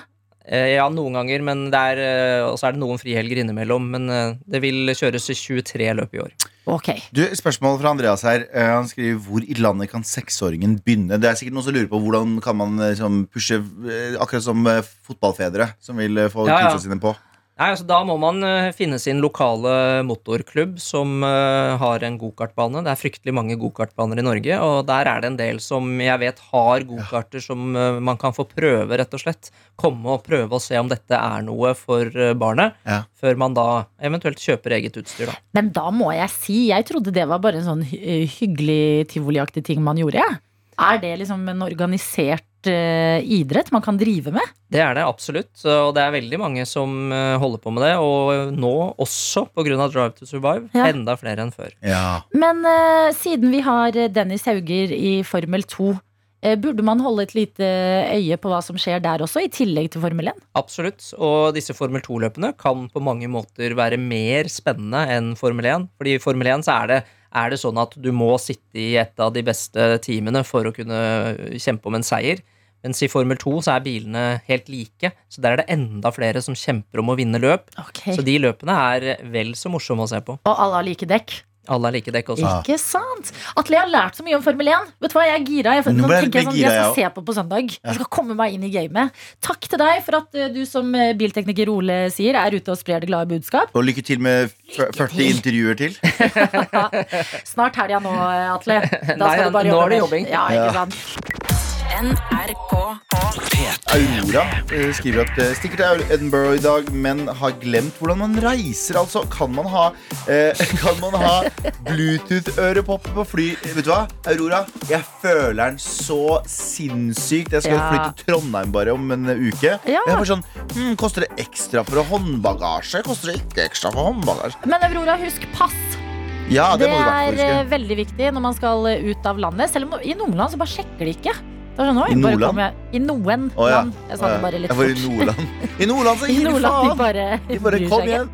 Speaker 9: Eh, ja, noen ganger, men det er eh, Og så er det noen frihelger innimellom. Men eh, det vil kjøres 23 løp i år.
Speaker 2: Ok.
Speaker 3: Du, Spørsmål fra Andreas her. Eh, Han skriver hvor i landet kan seksåringen begynne? Det er sikkert noen som lurer på hvordan kan man eh, liksom, pushe eh, Akkurat som eh, fotballfedre som vil eh, få
Speaker 9: Ja, ja.
Speaker 3: kidsa sine på.
Speaker 9: Nei, altså Da må man eh, finne sin lokale motorklubb som eh, har en gokartbane. Det er fryktelig mange gokartbaner i Norge, og der er det en del som jeg vet har gokarter som eh, man kan få prøve, rett og slett. Komme og prøve å se om dette er noe for eh, barnet,
Speaker 3: Ja.
Speaker 9: før man da eventuelt kjøper eget utstyr. da.
Speaker 2: Men da må jeg si, jeg trodde det var bare en sånn hy eh, hyggelig tivoliaktig ting man gjorde. jeg. Er det liksom en organisert eh, idrett man kan drive med?
Speaker 9: Det er det absolutt, og det er veldig mange som eh, holder på med det. Og nå også, pga. Drive to Survive,
Speaker 2: Ja.
Speaker 9: enda flere enn før.
Speaker 3: Ja.
Speaker 2: Men eh, siden vi har eh, Dennis Hauger i Formel 2, eh, burde man holde et lite øye på hva som skjer der også, i tillegg til Formel 1?
Speaker 9: Absolutt. Og disse Formel 2-løpene kan på mange måter være mer spennende enn Formel 1. Fordi i Formel 1 så er det, er det sånn at du må sitte i et av de beste teamene for å kunne kjempe om en seier. Mens i Formel 2 så er bilene helt like, så der er det enda flere som kjemper om å vinne løp. Så de løpene er vel så morsomme å se på.
Speaker 2: Og alle har like dekk.
Speaker 9: Alle er like dekk også.
Speaker 3: Ja.
Speaker 2: Ikke sant? Atle, jeg har lært så mye om Formel 1. Vet du hva, jeg er gira. Jeg,
Speaker 3: Nå
Speaker 2: nå
Speaker 3: ble jeg
Speaker 2: tenker jeg
Speaker 3: litt
Speaker 2: sånn,
Speaker 3: gira,
Speaker 2: jeg skal
Speaker 3: jeg
Speaker 2: se på på søndag. Jeg skal komme meg inn i gamet. Takk til deg for at eh, du som eh, biltekniker Ole sier, er ute og sprer det glade budskap.
Speaker 3: Og lykke til med f- 40 intervjuer til.
Speaker 2: Snart helga nå, eh, Atle. Da
Speaker 9: Nei,
Speaker 2: skal du bare
Speaker 9: nå
Speaker 2: jobbe
Speaker 9: er det
Speaker 2: mer.
Speaker 9: jobbing.
Speaker 2: Ja,
Speaker 3: Ja.
Speaker 2: ikke sant?
Speaker 8: NRK.
Speaker 3: Aurora eh, skriver at eh, stikker til Edinburgh i dag, men har glemt hvordan man reiser. Altså, kan man ha, eh, kan man ha Bluetooth-ørepopper på fly? Eh, Vet du hva, Aurora? Jeg føler den så sinnssykt. Jeg skal
Speaker 2: Ja.
Speaker 3: flytte til Trondheim bare om en eh, uke.
Speaker 2: Ja.
Speaker 3: Jeg er bare sånn, hm, Koster det ekstra for håndbagasje? Koster det ikke ekstra for håndbagasje?
Speaker 2: Men Aurora, husk pass.
Speaker 3: Ja, det,
Speaker 2: det
Speaker 3: må du i hvert
Speaker 2: er
Speaker 3: fall
Speaker 2: eh,
Speaker 3: huske.
Speaker 2: veldig viktig når man skal eh, ut av landet. Selv om i noen land så bare sjekker de ikke. Det er sånn, oi,
Speaker 3: I
Speaker 2: bare
Speaker 3: Nordland?
Speaker 2: kom jeg- I noen
Speaker 3: Å, ja.
Speaker 2: land. Jeg sa det bare litt
Speaker 3: jeg var i
Speaker 2: fort.
Speaker 3: Nordland. I Nordland så
Speaker 2: I
Speaker 3: gir de
Speaker 2: Nordland, de
Speaker 3: faen!
Speaker 2: bare,
Speaker 3: De bare
Speaker 2: bryr seg
Speaker 3: kom
Speaker 2: ikke.
Speaker 3: igjen.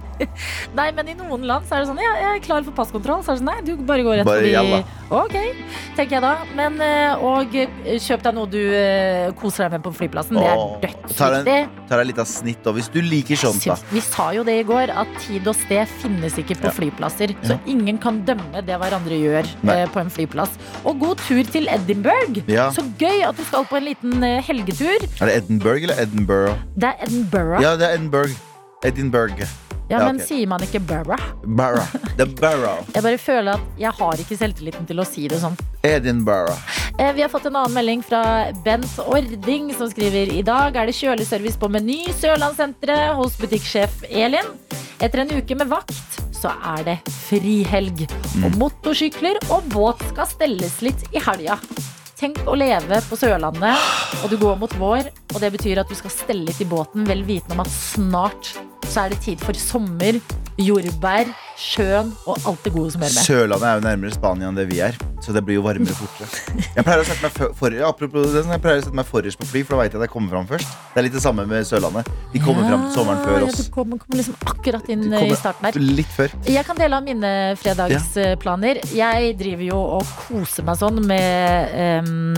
Speaker 2: Nei, men i noen land så er det sånn Ja, jeg er klar for passkontroll. Så er det sånn, nei, du bare går rett
Speaker 3: Bare
Speaker 2: forbi.
Speaker 3: jalla.
Speaker 2: Ok, tenker jeg da. Men eh, og eh, kjøp deg noe du eh, koser deg med på flyplassen. Det
Speaker 3: Åh,
Speaker 2: er
Speaker 3: tar en
Speaker 2: dødsviktig.
Speaker 3: Tar deg litt av snitt, og hvis du liker
Speaker 2: Jeg
Speaker 3: sånt, da.
Speaker 2: syns- Vi sa jo det i går, at tid og sted finnes ikke på
Speaker 3: Ja.
Speaker 2: flyplasser.
Speaker 3: Ja.
Speaker 2: Så ingen kan dømme det hverandre gjør
Speaker 3: Nei.
Speaker 2: eh, på en flyplass. Og god tur til Edinburgh.
Speaker 3: Ja.
Speaker 2: Så gøy at du skal på en liten eh, helgetur.
Speaker 3: Er det Edinburgh eller Edinburgh?
Speaker 2: Det er Edinburgh. Ja,
Speaker 3: Ja, det er Edinburgh. Edinburgh. ja,
Speaker 2: men
Speaker 3: ok.
Speaker 2: sier man ikke Burra?
Speaker 3: Barra. The Barrow.
Speaker 2: Jeg bare føler at jeg har ikke selvtilliten til å si det sånn.
Speaker 3: Edinburgh.
Speaker 2: Eh, Vi har fått en annen melding fra Bent Ording, som skriver i dag er det kjøleservice på Meny Sørlandssenteret hos butikksjef Elin. Etter en uke med vakt så er det frihelg. Og motorsykler og båt skal stelles litt i helga. Tenk å leve på Sørlandet, og du går mot vår, og det betyr at du skal stelle litt i båten, vel vitende om at snart så er det tid for sommer, jordbær, sjøen og alt det gode som hører med.
Speaker 3: Sørlandet er jo nærmere Spania enn det vi er, så det blir jo varmere fortere. Jeg pleier å sette meg fø- for, ja, apropos det, sånn, jeg pleier å sette meg forrest på fly, for da veit jeg at jeg kommer fram først. Det er litt det samme med Sørlandet. De kommer fram til sommeren før
Speaker 2: Ja,
Speaker 3: oss.
Speaker 2: Ja, du kommer, kommer liksom akkurat inn
Speaker 3: De
Speaker 2: eh, i
Speaker 3: kommer
Speaker 2: starten der.
Speaker 3: Litt før.
Speaker 2: Jeg kan dele av mine fredagsplaner. Jeg driver jo og koser meg sånn med em,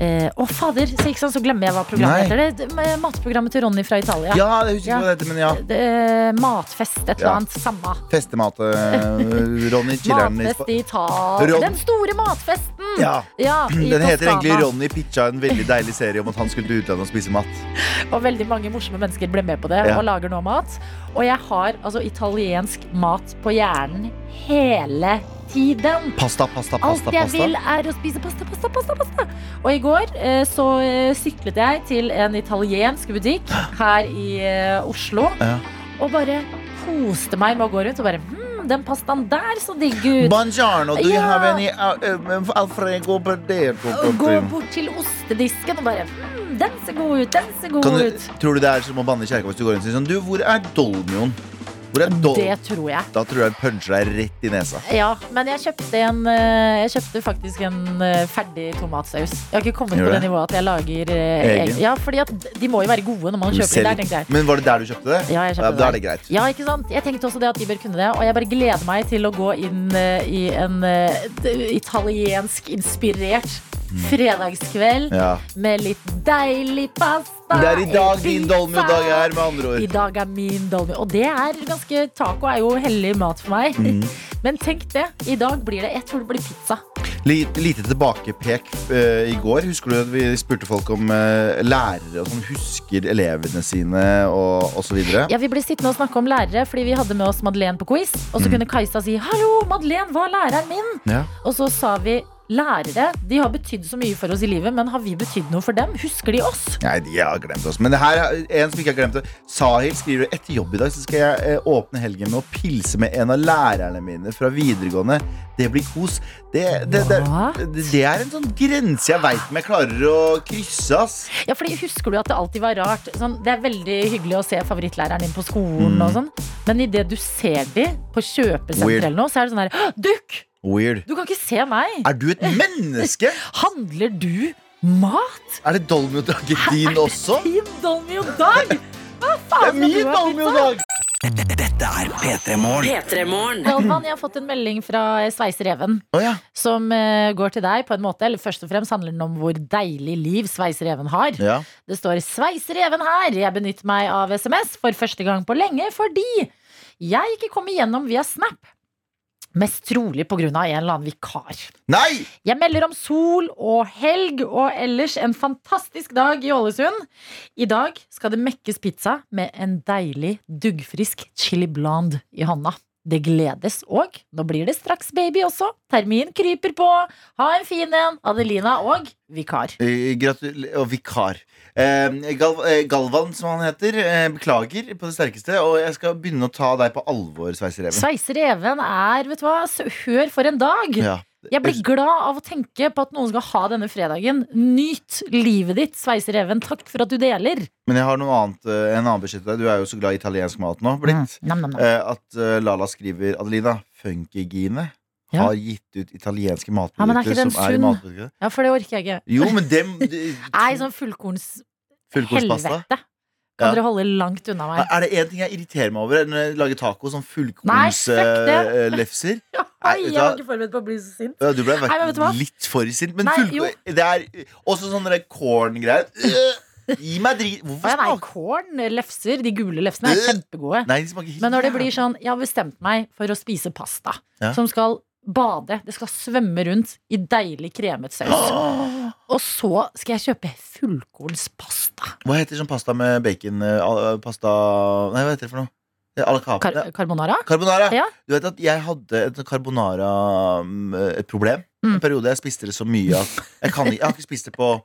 Speaker 2: Eh, Å, fader! Så, ikke sant, så glemmer jeg hva programmet
Speaker 3: Nei.
Speaker 2: heter. Det- Det, med matprogrammet til Ronny fra Italia.
Speaker 3: Ja, jeg husker ikke hva det heter, men ja.
Speaker 2: Det, eh, matfest, et eller
Speaker 3: Ja.
Speaker 2: annet. Samme.
Speaker 3: Festemat, eh, Ronny. Chiller'n. i
Speaker 2: Matfest i
Speaker 3: Spa-
Speaker 2: Italia.
Speaker 3: Ron-
Speaker 2: Den store matfesten!
Speaker 3: Ja.
Speaker 2: Ja, i
Speaker 3: Den heter
Speaker 2: Toskana.
Speaker 3: egentlig Ronny pitcha en veldig deilig serie om at han skulle til utlandet og spise mat.
Speaker 2: Og veldig mange morsomme mennesker ble med på det
Speaker 3: Ja.
Speaker 2: og lager nå mat. Og jeg har altså italiensk mat på hjernen hele tiden.
Speaker 3: Pasta, pasta,
Speaker 2: Alt
Speaker 3: pasta.
Speaker 2: jeg vil,
Speaker 3: pasta.
Speaker 2: er å spise pasta, pasta, pasta. pasta Og i går eh, så eh, syklet jeg til en italiensk butikk her i eh, Oslo.
Speaker 3: Ja.
Speaker 2: Og bare koste meg med å gå rundt og bare Hm, den pastaen der så digg ut.
Speaker 3: Buongiorno, do you
Speaker 2: Ja.
Speaker 3: have any uh, um, Alfredo Berdeto?
Speaker 2: Og gå bort til ostedisken og bare Hm, den ser god ut, den ser god
Speaker 3: Kan du,
Speaker 2: ut.
Speaker 3: tror du det er som å banne i kjerka hvis du går inn og sier sånn Du, hvor er dolmioen? Hvor er dol
Speaker 2: Det tror jeg.
Speaker 3: Da tror jeg jeg puncher deg rett i nesa.
Speaker 2: Ja, men jeg kjøpte, en, eh, jeg kjøpte faktisk en eh, ferdig tomatsaus. Jeg har ikke kommet
Speaker 3: Gjør
Speaker 2: på det
Speaker 3: det?
Speaker 2: nivået at jeg lager eh,
Speaker 3: Egen?
Speaker 2: egen. Ja, fordi at de må jo være gode når man
Speaker 3: Du
Speaker 2: kjøper det
Speaker 3: selv-
Speaker 2: der, tenkte jeg.
Speaker 3: Men var det der du kjøpte det?
Speaker 2: Ja, jeg kjøpte
Speaker 3: Ja, da er
Speaker 2: det
Speaker 3: det greit.
Speaker 2: Ja, ikke sant? Jeg tenkte også det at de bør kunne det, og jeg bare gleder meg til å gå inn eh, i en eh, d- italiensk inspirert fredagskveld
Speaker 3: Mm. Ja.
Speaker 2: med litt deilig pasta.
Speaker 3: Det er i dag din
Speaker 2: pizza.
Speaker 3: dolmio-dag er, med andre
Speaker 2: I
Speaker 3: ord.
Speaker 2: dag er min dolmy. Og det er ganske Taco er jo hellig mat for meg. Men tenk det. I dag blir det Jeg tror det blir pizza.
Speaker 3: Lite, lite tilbakepek eh, i går. Husker du at vi spurte folk om eh, lærere og sånn husker elevene sine og, og så videre?
Speaker 2: Ja, Vi ble sittende og snakke om lærere, fordi vi hadde med oss Madeleine på quiz. Og så kunne Kajsa si 'Hallo, Madeleine var læreren min'.
Speaker 3: Ja.
Speaker 2: Og så sa vi lærere de har betydd så mye for oss i livet, men har vi betydd noe for dem? Husker de oss?
Speaker 3: Nei, de har glemt oss. Men det her er en som ikke har glemt det. Sahil skriver etter jobb i dag så skal jeg eh, åpne helgen med å pilse med en av lærerne mine fra videregående. Det blir kos. Det, det, det,
Speaker 2: What?
Speaker 3: det, det er en sånn grense jeg veit om jeg klarer å krysse, ass.
Speaker 2: Ja, fordi Husker du at det alltid var rart? Sånn, det er veldig hyggelig å se favorittlæreren din på skolen, og sånn men idet du ser de på
Speaker 3: Weird.
Speaker 2: kjøpesenter eller noe, så er det sånn her «Hå, Dukk!
Speaker 3: Weird.
Speaker 2: Du kan ikke se meg!
Speaker 3: Er du et menneske?
Speaker 2: Handler du mat?
Speaker 3: Er det dolmiodagen din også?
Speaker 2: Team Dolmio Dag! Hva
Speaker 3: Det er
Speaker 2: faen skal du
Speaker 3: min
Speaker 2: ha pizza?
Speaker 3: dolmiodag!
Speaker 2: Galvan, jeg har fått en melding fra Sveisereven
Speaker 3: Å ja.
Speaker 2: som eh, går til deg på en måte. Eller først og fremst handler den om hvor deilig liv Sveisereven har.
Speaker 3: ja.
Speaker 2: Det står 'Sveisereven her'. Jeg benytter meg av SMS for første gang på lenge fordi jeg ikke kom igjennom via Snap. Mest trolig pga. en eller annen vikar.
Speaker 3: Nei!
Speaker 2: Jeg melder om sol og helg og ellers en fantastisk dag i Ålesund. I dag skal det mekkes pizza med en deilig, duggfrisk chili blonde i hånda. Det gledes, og nå blir det straks baby også. Termin kryper på. Ha en fin en, Adelina og vikar.
Speaker 3: Eh, Gratul... Og vikar. Eh, Gal eh, Galvan, som han heter. Eh, beklager på det sterkeste. Og jeg skal begynne å ta deg på alvor, Sveisereven.
Speaker 2: Sveisereven er, vet du hva, s- hør for en dag!
Speaker 3: Ja.
Speaker 2: Jeg blir glad av å tenke på at noen skal ha denne fredagen. Nyt livet ditt, Sveisereven. Takk for at du deler.
Speaker 3: Men jeg har noe annet, eh, en annen beskjed til deg. Du er jo så glad i italiensk mat nå. Blitt.
Speaker 2: Nam, nam, nam.
Speaker 3: Eh, at eh, Lala skriver Adelina, Funkygine
Speaker 2: Ja.
Speaker 3: har gitt ut italienske
Speaker 2: Ja, men er ikke
Speaker 3: matprodukter
Speaker 2: den
Speaker 3: som er i
Speaker 2: sunn?
Speaker 3: matbutikken.
Speaker 2: Ja, for det orker jeg ikke.
Speaker 3: Jo, men dem de-
Speaker 2: Nei, sånn fullkorns...
Speaker 3: Fullkornspasta.
Speaker 2: Helvete. Kan
Speaker 3: Ja.
Speaker 2: dere holde langt unna
Speaker 3: Er
Speaker 2: meg?
Speaker 3: er det én ting jeg irriterer meg over, er når jeg lager taco som
Speaker 2: Nei, fuck det.
Speaker 3: fullkornslefser. Eh, Nei,
Speaker 2: Oi, jeg var
Speaker 3: vet du hva?
Speaker 2: ikke forberedt på å bli så sint.
Speaker 3: Ja, du ble vært
Speaker 2: Nei, men vet du hva?
Speaker 3: litt for sint. Men
Speaker 2: Nei,
Speaker 3: full,
Speaker 2: jo.
Speaker 3: det er også sånne der corn-greier. Øh, Gi meg drit Hvorfor
Speaker 2: Å, ja, nei,
Speaker 3: smaker
Speaker 2: korn, lefser, de gule lefsene er
Speaker 3: Øh.
Speaker 2: kjempegode.
Speaker 3: Nei, de smaker helt
Speaker 2: Men når det
Speaker 3: jævlig.
Speaker 2: blir sånn Jeg har bestemt meg for å spise pasta
Speaker 3: Ja.
Speaker 2: som skal bade. Det skal svømme rundt i deilig kremet saus.
Speaker 3: Åh!
Speaker 2: Og så skal jeg kjøpe fullkornspasta.
Speaker 3: Hva heter sånn pasta med bacon eh, al- Pasta Nei, hva heter det for noe? Eh, Ala carte.
Speaker 2: Kar carbonara?
Speaker 3: Carbonara.
Speaker 2: Ja.
Speaker 3: Du vet at jeg hadde et carbonara-problem.
Speaker 2: Mm.
Speaker 3: En periode jeg spiste det så mye at jeg, kan, ikke- jeg har ikke spist det på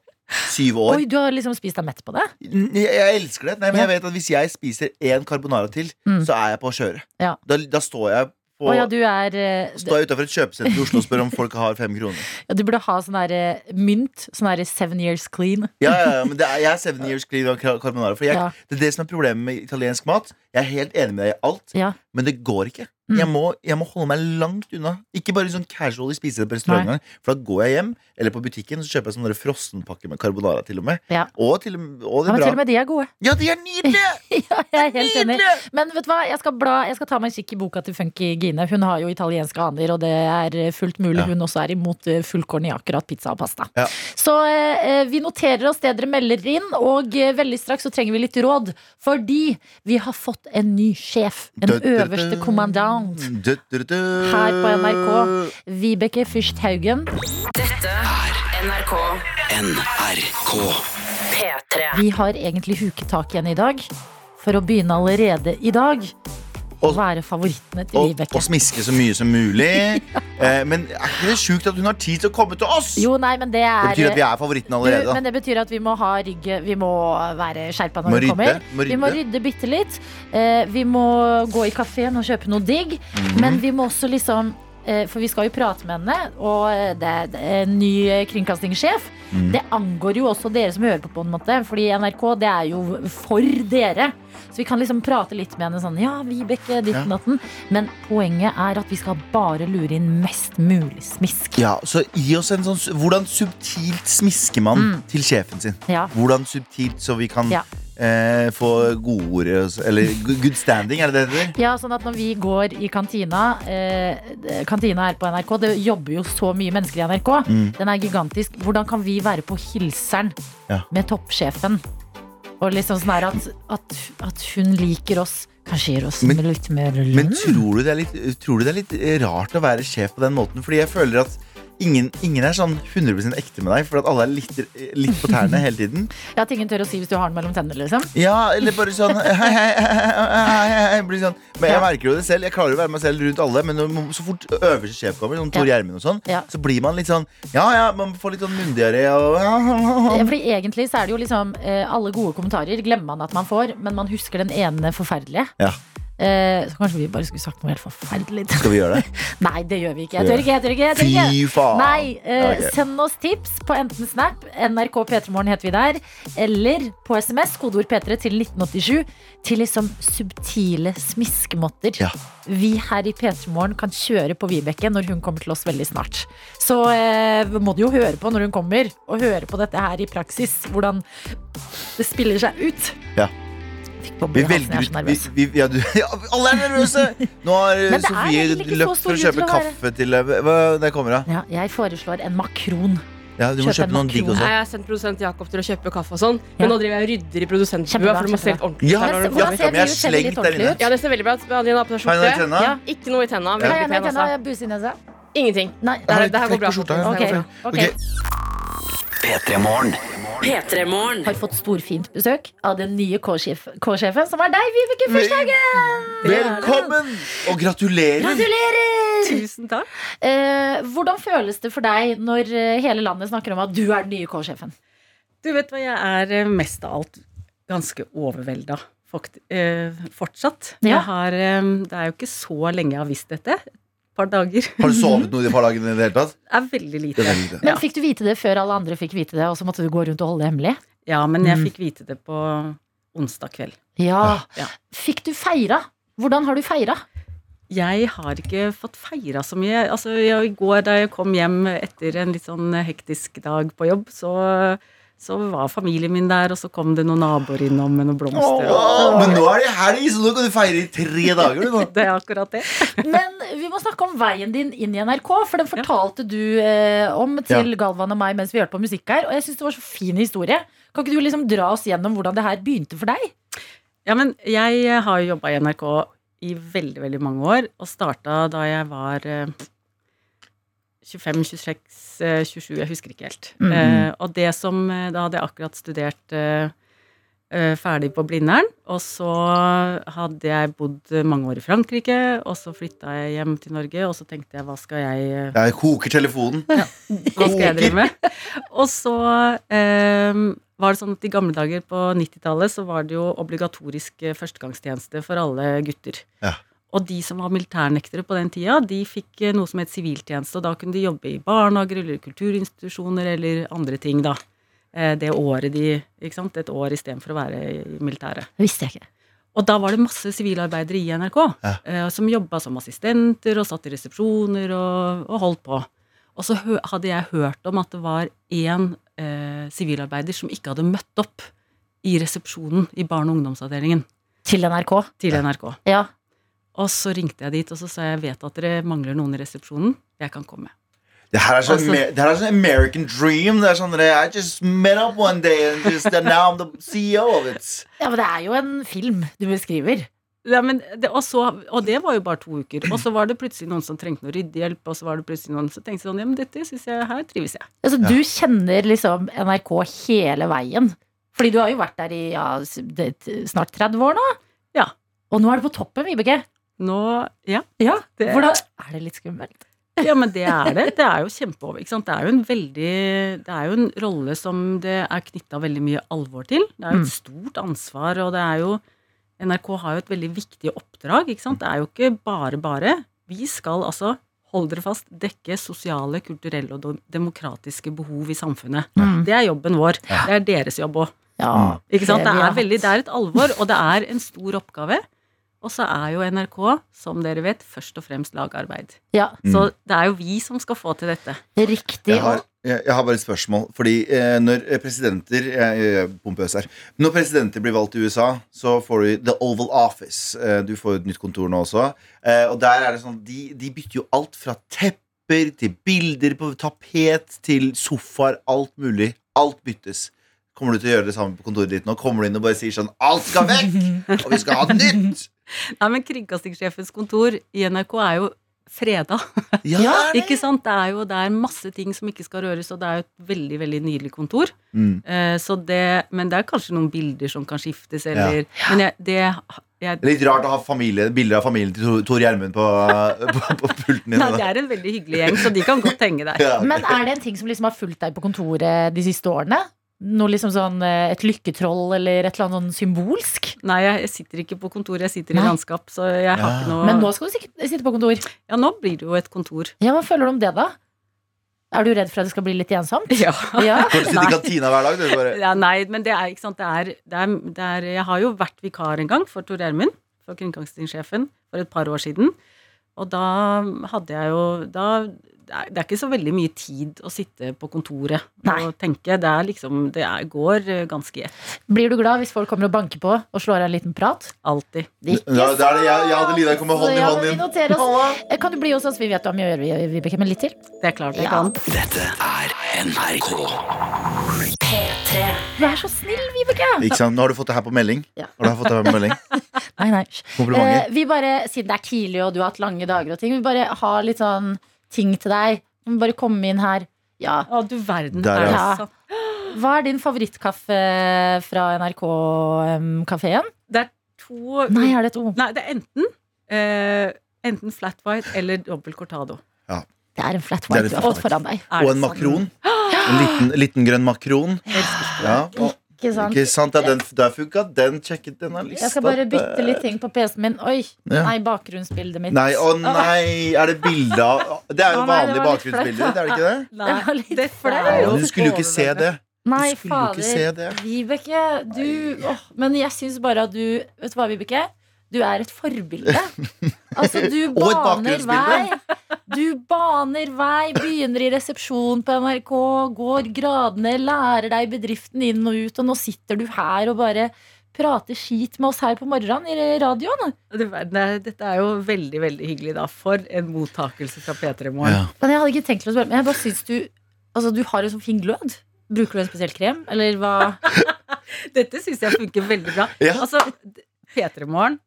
Speaker 3: syv år.
Speaker 2: Oi, du har liksom spist deg mett på det?
Speaker 3: N- Jeg, jeg elsker det. Nei, men
Speaker 2: Ja.
Speaker 3: jeg vet at hvis jeg spiser én carbonara til,
Speaker 2: Mm.
Speaker 3: så er jeg på kjøret.
Speaker 2: Ja.
Speaker 3: Da, da står jeg på
Speaker 2: Å ja, du er eh,
Speaker 3: Står jeg utenfor et kjøpesenter i Oslo og spør om folk har fem kroner.
Speaker 2: ja, Du burde ha sånn der eh, mynt. Sånn der seven years clean.
Speaker 3: Ja, ja, ja, men det er, Jeg er seven years clean av carbonara. For jeg,
Speaker 2: Ja.
Speaker 3: Det er det som er problemet med italiensk mat. Jeg er helt enig med deg i alt,
Speaker 2: Ja.
Speaker 3: Men det går ikke.
Speaker 2: Mm.
Speaker 3: Jeg, må, jeg må holde meg langt unna. Ikke bare sånn casual i spise det på restaurant engang. For da går jeg hjem, eller på butikken, så kjøper jeg sånne frossenpakker med carbonara til og med.
Speaker 2: Ja.
Speaker 3: Og til og med,
Speaker 2: Ja,
Speaker 3: og det
Speaker 2: men
Speaker 3: er
Speaker 2: til og
Speaker 3: bra.
Speaker 2: med Eh, de er gode.
Speaker 3: Ja, de er nydelige!
Speaker 2: Ja, jeg er helt enig.
Speaker 3: Nydelige!
Speaker 2: Men vet du hva, jeg skal, bla, jeg skal ta meg en kikk i boka til Funky Gine. Hun har jo italienske aner, og det er eh, fullt mulig
Speaker 3: Ja.
Speaker 2: hun også er imot eh, fullkorn i akkurat pizza og pasta.
Speaker 3: Ja.
Speaker 2: Så eh, eh, vi noterer oss det dere melder inn, og eh, veldig straks så trenger vi litt råd. Fordi vi har fått en ny sjef. En
Speaker 3: Dø- dø-
Speaker 2: øverste
Speaker 3: dø-
Speaker 2: kommandant.
Speaker 3: dø- dø- dø-
Speaker 2: Her på
Speaker 3: Mm.
Speaker 2: NRK. Vibeke Fyrst Haugen.
Speaker 10: Dette er NRK P3.
Speaker 2: Vi har egentlig huketak igjen i dag. For å begynne allerede i dag å
Speaker 3: Og-
Speaker 2: være favorittene til
Speaker 3: Og,
Speaker 2: Vibeke.
Speaker 3: og smiske så mye som mulig. eh, men er ikke det sjukt at hun har tid til å komme til oss?
Speaker 2: Jo, nei, men det er
Speaker 3: det betyr at vi er favoritten
Speaker 2: Du,
Speaker 3: allerede.
Speaker 2: men
Speaker 3: Da.
Speaker 2: det betyr at vi må ha rygge Vi må være skjerpa når
Speaker 3: Må
Speaker 2: vi
Speaker 3: rydde,
Speaker 2: kommer.
Speaker 3: må
Speaker 2: Vi må
Speaker 3: rydde.
Speaker 2: rydde bitte litt. Eh, vi må gå i kafeen og kjøpe noe digg.
Speaker 3: Mhm.
Speaker 2: Men vi må også liksom eh, For vi skal jo prate med henne, og eh, det er det er en ny eh, kringkastingssjef.
Speaker 3: Mhm.
Speaker 2: Det angår jo også dere som hører på, på en måte. Fordi NRK, det er jo for dere. Så vi kan liksom prate litt med henne sånn Ja, Vibeke,
Speaker 3: Ja.
Speaker 2: ditten datten. Men poenget er at vi skal bare lure inn mest mulig smisk.
Speaker 3: Ja, så gi oss en sånn su- Hvordan subtilt smisker man til sjefen sin?
Speaker 2: Ja.
Speaker 3: Hvordan subtilt så vi kan
Speaker 2: Mm. Ja.
Speaker 3: eh, få gode ord i oss? Eller g- good standing, er det det heter?
Speaker 2: Ja, sånn at når vi går i kantina eh, Kantina her på NRK Det jobber jo så mye mennesker i NRK
Speaker 3: Mm.
Speaker 2: Den er gigantisk Hvordan kan vi være på hilseren
Speaker 3: Ja.
Speaker 2: Med toppsjefen Og liksom sånn her at, at, at hun liker oss Kanskje gir oss
Speaker 3: Men-
Speaker 2: litt mer lønn
Speaker 3: Men tror du, det er litt, tror du det er litt eh, rart å være sjef på den måten? Fordi jeg føler at ingen, ingen er sånn 100 ekte med deg, for at alle er litt, eh, litt på tærne hele tiden.
Speaker 2: Ja, at ingen tør å si hvis du har den mellom tennene liksom
Speaker 3: Ja, eller bare sånn hei, hei, hei, hei, hei, hei, blir sånn. Men jeg merker jo det selv. Jeg klarer å være meg selv rundt alle, men når- så fort øverste sjef kommer, sånn Tor
Speaker 2: Ja.
Speaker 3: Gjermund og sånn,
Speaker 2: Ja.
Speaker 3: så blir man litt sånn Ja, ja, man får litt sånn myndigere og
Speaker 2: Ja, Fordi egentlig så er det jo liksom eh, Alle gode kommentarer glemmer man at man får Men man husker den ene forferdelige
Speaker 3: Ja.
Speaker 2: eh, Så kanskje vi bare skulle sagt noe helt forferdelig
Speaker 3: Skal vi gjøre det?
Speaker 2: Nei, det gjør vi ikke Jeg tør ikke, jeg tør ikke, jeg tør ikke
Speaker 3: Fy faen!
Speaker 2: Nei, eh,
Speaker 3: Ja, ok.
Speaker 2: send oss tips på enten Snap, NRK P3morgen heter vi der, eller på SMS, kodeord P3 til 1987, til liksom subtile smiskemåter.
Speaker 3: Ja.
Speaker 2: Vi her i P3morgen kan kjøre på Vibeke når hun kommer til oss veldig snart. Så eh, må du jo høre på når hun kommer, og høre på dette her i praksis, hvordan det spiller seg ut.
Speaker 3: Ja.
Speaker 2: Fikk boble
Speaker 3: Vi
Speaker 2: i halsen,
Speaker 3: velger
Speaker 2: jeg er så nervøs.
Speaker 3: ut vi, vi, ja, du, ja, Alle er nervøse! Nå har eh,
Speaker 2: Men det er
Speaker 3: Sofie
Speaker 2: egentlig ikke så
Speaker 3: løpt
Speaker 2: stor
Speaker 3: for å
Speaker 2: grunn til
Speaker 3: kjøpe
Speaker 2: å
Speaker 3: kaffe til hva- hva- Der kommer hun.
Speaker 2: Ja, jeg foreslår en makron.
Speaker 3: Ja, du må
Speaker 2: Kjøp en
Speaker 3: kjøpe noen digg
Speaker 2: makron.
Speaker 6: Nei,
Speaker 3: også.
Speaker 6: Jeg har sendt produsent Jakob til å kjøpe kaffe og sånn,
Speaker 2: Ja.
Speaker 6: men nå driver jeg og rydder i produsentbua.
Speaker 2: Kjempebra,
Speaker 6: For det må se
Speaker 2: kjempebra.
Speaker 6: helt ordentlig
Speaker 2: Men se-
Speaker 3: Ja,
Speaker 6: ut her når du-
Speaker 3: ja,
Speaker 2: hvordan
Speaker 3: det
Speaker 2: ser
Speaker 3: kommer jeg
Speaker 2: vi ut? Ser vi litt
Speaker 3: slengt der
Speaker 2: ordentlig
Speaker 3: inne.
Speaker 2: ut?
Speaker 6: ja, det ser veldig bra ut. Adelina har på seg
Speaker 3: Har hun noe i
Speaker 6: skjorte.
Speaker 3: tenna?
Speaker 2: Ja.
Speaker 6: Ikke noe i tenna.
Speaker 2: Nei,
Speaker 6: Veldig
Speaker 2: jeg
Speaker 6: pen,
Speaker 2: mener,
Speaker 6: altså.
Speaker 2: jeg buser i nesa.
Speaker 6: Ingenting.
Speaker 2: Nei,
Speaker 6: Det, her-
Speaker 3: litt
Speaker 6: det her går
Speaker 3: trekk
Speaker 6: bra.
Speaker 3: på skjorta her.
Speaker 2: Ok,
Speaker 3: Ja,
Speaker 2: ok.
Speaker 3: Ok.
Speaker 10: P3-morgen.
Speaker 2: Har fått storfint besøk av den nye K-sjef- K-sjefen, som er deg, Vibeke Fyrsthagen!
Speaker 3: Velkommen! Og gratulerer!
Speaker 2: Gratulerer!
Speaker 6: Tusen takk.
Speaker 2: Eh, hvordan føles det for deg når eh, hele landet snakker om at du er den nye K-sjefen?
Speaker 9: Du vet hva, jeg er eh, mest av alt ganske overvelda fakt- eh, fortsatt.
Speaker 2: Ja.
Speaker 9: Jeg har, eh, det er jo ikke så lenge jeg har visst dette. Et par dager.
Speaker 3: Har du sovet noe de par dagene i det hele tatt?
Speaker 9: Det er veldig
Speaker 3: Det
Speaker 9: lite.
Speaker 3: er veldig lite.
Speaker 2: Men
Speaker 9: Ja.
Speaker 2: Fikk du vite det før alle andre fikk vite det, og så måtte du gå rundt og holde det hemmelig?
Speaker 9: Ja, men jeg
Speaker 2: Mm.
Speaker 9: fikk vite det på onsdag kveld.
Speaker 2: Ja.
Speaker 9: Ja.
Speaker 2: Fikk du feira? Hvordan har du feira?
Speaker 9: Jeg har ikke fått feira så mye. Altså, jeg, I går da jeg kom hjem etter en litt sånn hektisk dag på jobb, så, så var familien min der, og så kom det noen naboer innom med noen blomster.
Speaker 3: Åh, men nå er det helg, så nå kan du feire i tre dager. Du, nå.
Speaker 9: Det er akkurat det.
Speaker 2: Men vi må snakke om veien din inn i NRK, for den fortalte du eh, om til Galvan og meg mens vi hørte på musikk her, og jeg syns det var så fin historie. Kan ikke du liksom dra oss gjennom hvordan det her begynte for deg?
Speaker 9: Ja, men jeg har jo jobba i NRK i veldig, veldig mange år, og starta da jeg var eh, 25, 26, eh, 27, jeg husker ikke helt.
Speaker 2: Mhm.
Speaker 9: Eh, og det som eh, Da hadde jeg akkurat studert eh, eh, ferdig på Blindern, og så hadde jeg bodd eh, mange år i Frankrike, og så flytta jeg hjem til Norge, og så tenkte jeg hva skal jeg eh,
Speaker 3: Jeg koker telefonen.
Speaker 9: hva skal jeg drive med? Og så eh, var det sånn at i gamle dager på 90-tallet så var det jo obligatorisk eh, førstegangstjeneste for alle gutter.
Speaker 3: Ja.
Speaker 9: Og de som var militærnektere på den tida, de fikk eh, noe som het siviltjeneste, og da kunne de jobbe i barnehager eller kulturinstitusjoner eller andre ting, da. Eh, Det året de Ikke sant? Et år istedenfor å være i militæret.
Speaker 2: Det visste jeg ikke.
Speaker 9: Og da var det masse sivilarbeidere i NRK eh, som jobba som assistenter og satt i resepsjoner og, og holdt på. Og så hø hadde jeg hørt om at det var én eh, sivilarbeider som ikke hadde møtt opp i resepsjonen i barne- og ungdomsavdelingen.
Speaker 2: Til NRK?
Speaker 9: Til NRK.
Speaker 2: Ja.
Speaker 9: Og så ringte jeg dit, og så sa jeg jeg vet at dere mangler noen i resepsjonen. Jeg kan komme.
Speaker 3: Det her er sånn,
Speaker 9: Altså-
Speaker 3: Amer- det her er sånn American dream. Det er sånn I just met up one day and just and now I'm the CEO of it.
Speaker 2: Ja, men det er jo en film du beskriver.
Speaker 9: Ja, men det, og, så, og det var jo bare to uker. Og så var det plutselig noen som trengte noe ryddehjelp. Og så var det plutselig noen som tenkte sånn Ja, men dette synes jeg Her trives jeg.
Speaker 2: Altså, Du kjenner liksom NRK hele veien. Fordi du har jo vært der i ja, s- det, snart 30 år nå.
Speaker 9: Ja.
Speaker 2: Og nå er du på toppen, Vibeke.
Speaker 9: Nå Ja.
Speaker 2: Ja,
Speaker 9: det,
Speaker 2: Hvordan er det litt skummelt?
Speaker 9: Ja, men det er det. Det er jo kjempeover. Ikke sant? Det er jo en veldig Det er jo en rolle som det er knytta veldig mye alvor til. Det er jo
Speaker 2: Mm.
Speaker 9: et stort ansvar, og det er jo NRK har jo et veldig viktig oppdrag, ikke sant. Det er jo ikke bare bare. Vi skal altså, hold dere fast, dekke sosiale, kulturelle og do- demokratiske behov i samfunnet.
Speaker 2: Mm.
Speaker 9: Det er jobben vår. Det er deres jobb òg.
Speaker 3: Ah.
Speaker 2: Ja,
Speaker 9: Ikke sant?
Speaker 2: det
Speaker 9: Det
Speaker 2: vi har
Speaker 9: er, veldig, det er et alvor, og det er en stor oppgave. Og så er jo NRK, som dere vet, først og fremst lagarbeid.
Speaker 2: Ja.
Speaker 9: Så det er jo vi som skal få til dette.
Speaker 2: Riktig.
Speaker 3: Jeg har, jeg, jeg har bare et spørsmål. Fordi eh, når presidenter jeg, jeg er pompøs her. Når presidenter blir valgt i USA, så får du The Oval Office. Eh, du får jo et nytt kontor nå også. Eh, og der er det sånn de, de bytter jo alt fra tepper til bilder på tapet til sofaer. Alt mulig. Alt byttes. Kommer du til å gjøre det samme på kontoret ditt nå? Kommer du inn og bare sier sånn Alt skal vekk! Og vi skal ha nytt!
Speaker 9: Nei, men Kringkastingssjefens kontor i NRK er jo freda.
Speaker 3: Ja, det er det.
Speaker 9: ikke sant? Det er jo det er masse ting som ikke skal røres, og det er jo et veldig, veldig nydelig kontor.
Speaker 3: Mm.
Speaker 9: Eh, så det, men det er kanskje noen bilder som kan skiftes, eller Men jeg, det jeg,
Speaker 3: Litt rart å ha familie, bilder av familien til Tor- Tor Gjermund på, på, på pulten din.
Speaker 9: Nei, det er en veldig hyggelig gjeng, så de kan godt henge der.
Speaker 3: Ja.
Speaker 2: Men er det en ting som liksom har fulgt deg på kontoret de siste årene? Noe liksom sånn eh, Et lykketroll eller et eller annet sånn symbolsk?
Speaker 9: Nei, jeg, jeg sitter ikke på kontor, jeg sitter
Speaker 2: Nei.
Speaker 9: i landskap, så jeg har
Speaker 3: Ja.
Speaker 9: ikke noe
Speaker 2: Men nå skal du sikkert sitte på kontor.
Speaker 9: Ja, nå blir det jo et kontor.
Speaker 2: Ja, Hva føler du om det, da? Er du redd for at det skal bli litt ensomt?
Speaker 9: Ja.
Speaker 2: Ja.
Speaker 3: Får du sitte i kantina hver dag, du. Bare.
Speaker 9: Ja, nei, men det er ikke sant. Det er, det er, det er, jeg har jo vært vikar en gang for Tor Gjermund, for kringkastingssjefen, for et par år siden. Og da hadde jeg jo da, det, er, det er ikke så veldig mye tid å sitte på kontoret
Speaker 2: Nei.
Speaker 9: og tenke. Det er liksom Det er, går eh, ganske i ett.
Speaker 2: Blir du glad hvis folk kommer og banker på og slår av en liten prat?
Speaker 9: Alltid.
Speaker 2: Ikke
Speaker 3: Ja, det er det. Jeg, jeg hadde Lida komme hånd i
Speaker 2: Ja,
Speaker 3: hånd
Speaker 2: men vi
Speaker 3: inn.
Speaker 2: noterer oss. Eh, Kan du bli hos oss? Vi vet du har mye å gjøre, vi- Vibeke, men litt til.
Speaker 9: Det er klart jeg
Speaker 2: Ja.
Speaker 9: kan.
Speaker 2: Du er så snill, Vibeke!
Speaker 3: Ikke sant? Nå har du fått det her på melding.
Speaker 2: Ja.
Speaker 3: Har du fått det her på melding?
Speaker 2: Nei, nei.
Speaker 3: Komplimenter.
Speaker 2: Eh, vi bare, siden det er tidlig og du har hatt lange dager og ting, vi bare har litt sånn ting til deg. Du må bare komme inn her. Ja.
Speaker 9: Å, du verden.
Speaker 3: Eh, Der,
Speaker 9: er det
Speaker 2: ja.
Speaker 9: sant?
Speaker 2: Hva er din favorittkaffe fra NRK-kafeen?
Speaker 9: Det er to
Speaker 2: Nei, er det et O?
Speaker 9: Nei, det er enten eh, Enten flat white eller dobbel cortado.
Speaker 2: Det er en flat
Speaker 3: Det er
Speaker 2: white
Speaker 3: en
Speaker 2: du har
Speaker 3: flat
Speaker 2: fått
Speaker 3: white.
Speaker 2: foran deg.
Speaker 9: Er
Speaker 3: Og
Speaker 9: det
Speaker 3: en
Speaker 9: sånn?
Speaker 3: makron. En liten, liten grønn makron. Ja, og,
Speaker 2: Ikke sant?
Speaker 3: ikke sant? Ja, den, der funka den. Sjekket den av lista.
Speaker 2: Jeg skal bare bytte litt ting på PC-en min. Oi!
Speaker 3: Ja.
Speaker 2: Nei, bakgrunnsbildet mitt.
Speaker 3: Nei, å nei! Er det bilde av Det er jo
Speaker 2: Å nei, det
Speaker 3: vanlig
Speaker 2: var litt
Speaker 3: bakgrunnsbilde, er det ikke det?
Speaker 9: Nei,
Speaker 2: Det var litt
Speaker 9: dette er
Speaker 2: flaut.
Speaker 9: jo
Speaker 3: Men Du skulle jo ikke se det.
Speaker 2: Nei,
Speaker 3: Du skulle jo ikke se
Speaker 2: fader.
Speaker 3: det.
Speaker 2: Vibeke, du åh, Men jeg syns bare at du Vet du hva, Vibeke? Du er et forbilde. Altså, du
Speaker 3: Og et
Speaker 2: baner vei.
Speaker 3: bakgrunnsbilde.
Speaker 2: Du baner vei, begynner i resepsjon på NRK, går gradene, lærer deg bedriften inn og ut, og nå sitter du her og bare prater skit med oss her på morgenen i radioen.
Speaker 9: Du verden, det er- Dette er jo veldig veldig hyggelig, da. For en mottakelse fra P3 Morgen.
Speaker 3: Ja.
Speaker 2: Men jeg hadde ikke tenkt til å spørre, men jeg bare syns du Altså, du har en sånn fin glød. Bruker du en spesiell krem, eller hva?
Speaker 9: Dette syns jeg funker veldig bra.
Speaker 3: Ja.
Speaker 9: Altså, P3 Morgen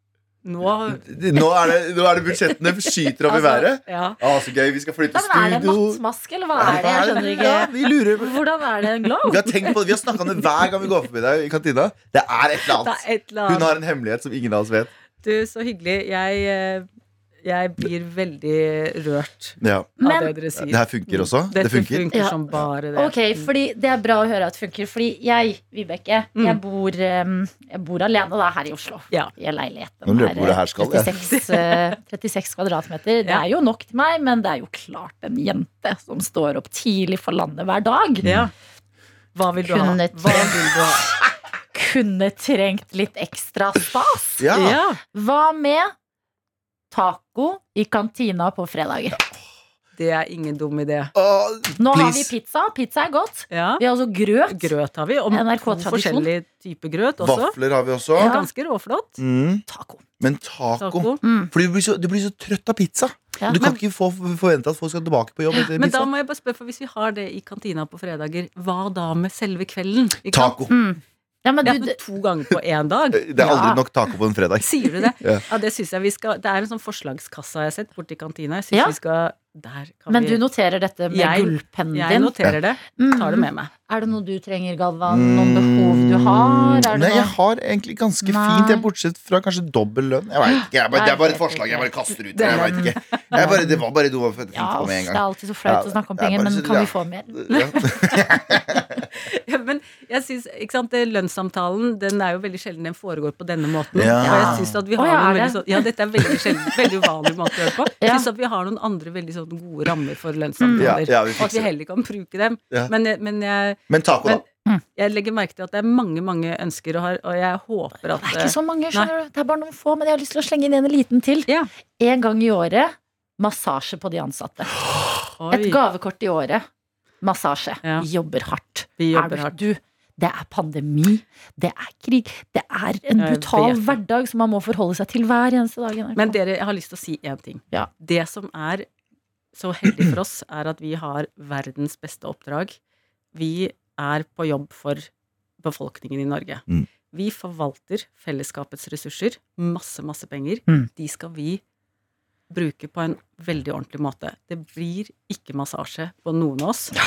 Speaker 9: nå
Speaker 3: Nå er det, nå er det budsjettene skyter opp i været.
Speaker 9: Ja.
Speaker 3: Å, så gøy. Vi skal flytte
Speaker 2: Altså, Ja, men er det en
Speaker 3: studio.
Speaker 2: nattmaske, eller hva
Speaker 3: Ja,
Speaker 2: er det? Jeg skjønner ikke.
Speaker 3: Ja, vi lurer.
Speaker 2: Hvordan er det en glow?
Speaker 3: Vi har, tenkt på det. vi har snakka om det hver gang vi går forbi deg i kantina. Det er et eller
Speaker 9: Det
Speaker 3: annet.
Speaker 9: er et eller
Speaker 3: Hun
Speaker 9: annet.
Speaker 3: har en hemmelighet som ingen av oss vet.
Speaker 9: Du, så hyggelig. Jeg, eh, jeg blir veldig rørt
Speaker 3: Ja.
Speaker 9: av
Speaker 2: Men
Speaker 9: det dere sier.
Speaker 3: Det her funker også.
Speaker 9: Dette
Speaker 3: Det funker.
Speaker 2: Ja.
Speaker 9: som bare det.
Speaker 2: ok, fordi det er bra å høre at det funker. Fordi jeg, Vibeke,
Speaker 9: Mm.
Speaker 2: jeg, bor, um, jeg bor alene da her i Oslo.
Speaker 9: Ja.
Speaker 2: I leiligheten.
Speaker 3: Nå lurer jeg på hvor det her skal, jeg.
Speaker 2: 36, eh, 36 kvadratmeter. Det
Speaker 9: Ja.
Speaker 2: er jo nok til meg, men det er jo klart en jente som står opp tidlig for landet hver dag.
Speaker 9: Ja. Hva vil du ha?
Speaker 2: Kunne
Speaker 9: Hva vil du ha?
Speaker 2: kunne trengt litt ekstra stas.
Speaker 3: Ja. Ja.
Speaker 2: Hva med taco i kantina på fredager?
Speaker 9: Det er ingen dum idé.
Speaker 2: Nå har vi pizza. Pizza er godt. Vi har også grøt.
Speaker 9: Grøt har vi. Og to
Speaker 2: NRK-tradisjon.
Speaker 9: forskjellige typer grøt også.
Speaker 3: Vafler har vi også.
Speaker 9: Det er Ganske råflott.
Speaker 3: Mm.
Speaker 2: Taco.
Speaker 3: Men taco,
Speaker 9: Taco.
Speaker 3: For du blir, så, du blir så trøtt av pizza.
Speaker 2: Ja.
Speaker 3: Du kan
Speaker 9: Men-
Speaker 3: ikke få, forvente at folk skal tilbake på jobb etter
Speaker 9: Men da
Speaker 3: pizza.
Speaker 9: må jeg bare spørre, for hvis vi har det i kantina på fredager, hva da med selve kvelden? Ikke sant?
Speaker 3: Taco.
Speaker 2: Mm.
Speaker 3: Eh,
Speaker 2: Ja, men
Speaker 9: Det er
Speaker 2: du,
Speaker 9: på to ganger på én dag.
Speaker 3: Det er aldri nok taco på en fredag.
Speaker 9: Sier du det?
Speaker 3: Ja.
Speaker 9: Ja, det syns jeg vi skal Det er en sånn forslagskasse jeg har sett borti kantina. Jeg synes
Speaker 2: Ja.
Speaker 9: vi skal Der kan
Speaker 2: men
Speaker 9: vi
Speaker 2: du noterer dette med
Speaker 9: Jeg-
Speaker 2: gullpennen din?
Speaker 9: Jeg noterer det.
Speaker 2: Mm.
Speaker 9: Tar det med meg.
Speaker 2: Er det noe du trenger, Galvan? Noen behov du har? Er det
Speaker 3: Mm. Nei,
Speaker 2: noe-
Speaker 3: jeg har egentlig ganske
Speaker 2: Nei.
Speaker 3: fint, jeg, bortsett fra kanskje dobbel lønn. Jeg vet ikke, jeg bare, Det er bare et forslag jeg bare kaster ut. Jeg vet ikke. Jeg bare, det var bare noe jeg tenkte
Speaker 2: ja,
Speaker 3: på med
Speaker 2: uff,
Speaker 3: en
Speaker 2: det er
Speaker 3: gang.
Speaker 2: alltid så flaut
Speaker 3: Ja,
Speaker 2: å snakke om
Speaker 3: det er
Speaker 2: penger,
Speaker 3: bare
Speaker 2: men
Speaker 3: så-
Speaker 2: kan
Speaker 3: ja.
Speaker 2: vi få mer?
Speaker 3: Ja.
Speaker 9: Ja, men jeg synes, ikke sant, det Lønnssamtalen den er jo veldig sjelden den foregår på denne måten.
Speaker 3: Ja.
Speaker 9: Og jeg synes at vi
Speaker 2: Å,
Speaker 9: har
Speaker 2: ja, er
Speaker 9: noen veldig
Speaker 2: det?
Speaker 9: sånn Ja, dette er veldig sjelden, veldig uvanlig måte å gjøre det på. Jeg
Speaker 2: Ja.
Speaker 9: synes at vi har noen andre veldig sånn gode rammer for
Speaker 3: Mm. Ja,
Speaker 9: lønnssamtaler.
Speaker 3: ja, vi
Speaker 9: og at vi
Speaker 3: fikser det.
Speaker 9: heller kan bruke dem.
Speaker 3: Ja.
Speaker 9: Men, jeg- men jeg,
Speaker 3: Men taco, da.
Speaker 9: Men- jeg legger merke til at det er mange, mange ønsker og, har, og jeg håper at
Speaker 2: Det er ikke så mange,
Speaker 9: Nei.
Speaker 2: skjønner du. Det er bare noen få, men jeg har lyst til å slenge inn en liten til.
Speaker 9: Ja.
Speaker 2: En gang i året massasje på de ansatte.
Speaker 9: eh, Oi,
Speaker 2: Et gavekort i året. Massasje.
Speaker 9: Ja.
Speaker 2: Vi jobber hardt.
Speaker 9: vi
Speaker 2: Er
Speaker 9: jobber
Speaker 2: du-
Speaker 9: hardt.
Speaker 2: Du, det er pandemi, det er krig, det er en
Speaker 9: Jeg
Speaker 2: brutal
Speaker 9: vet det.
Speaker 2: hverdag som man må forholde seg til hver eneste dag. i NRK.
Speaker 9: Men dere, jeg har lyst til å si én ting.
Speaker 2: Ja.
Speaker 9: Det som er så heldig for oss, er at vi har verdens beste oppdrag. Vi er på jobb for befolkningen i Norge.
Speaker 3: Mm.
Speaker 9: Vi forvalter fellesskapets ressurser. Masse, masse penger.
Speaker 2: Mm.
Speaker 9: De skal vi bruke på en veldig ordentlig måte. Det blir ikke massasje på noen av oss.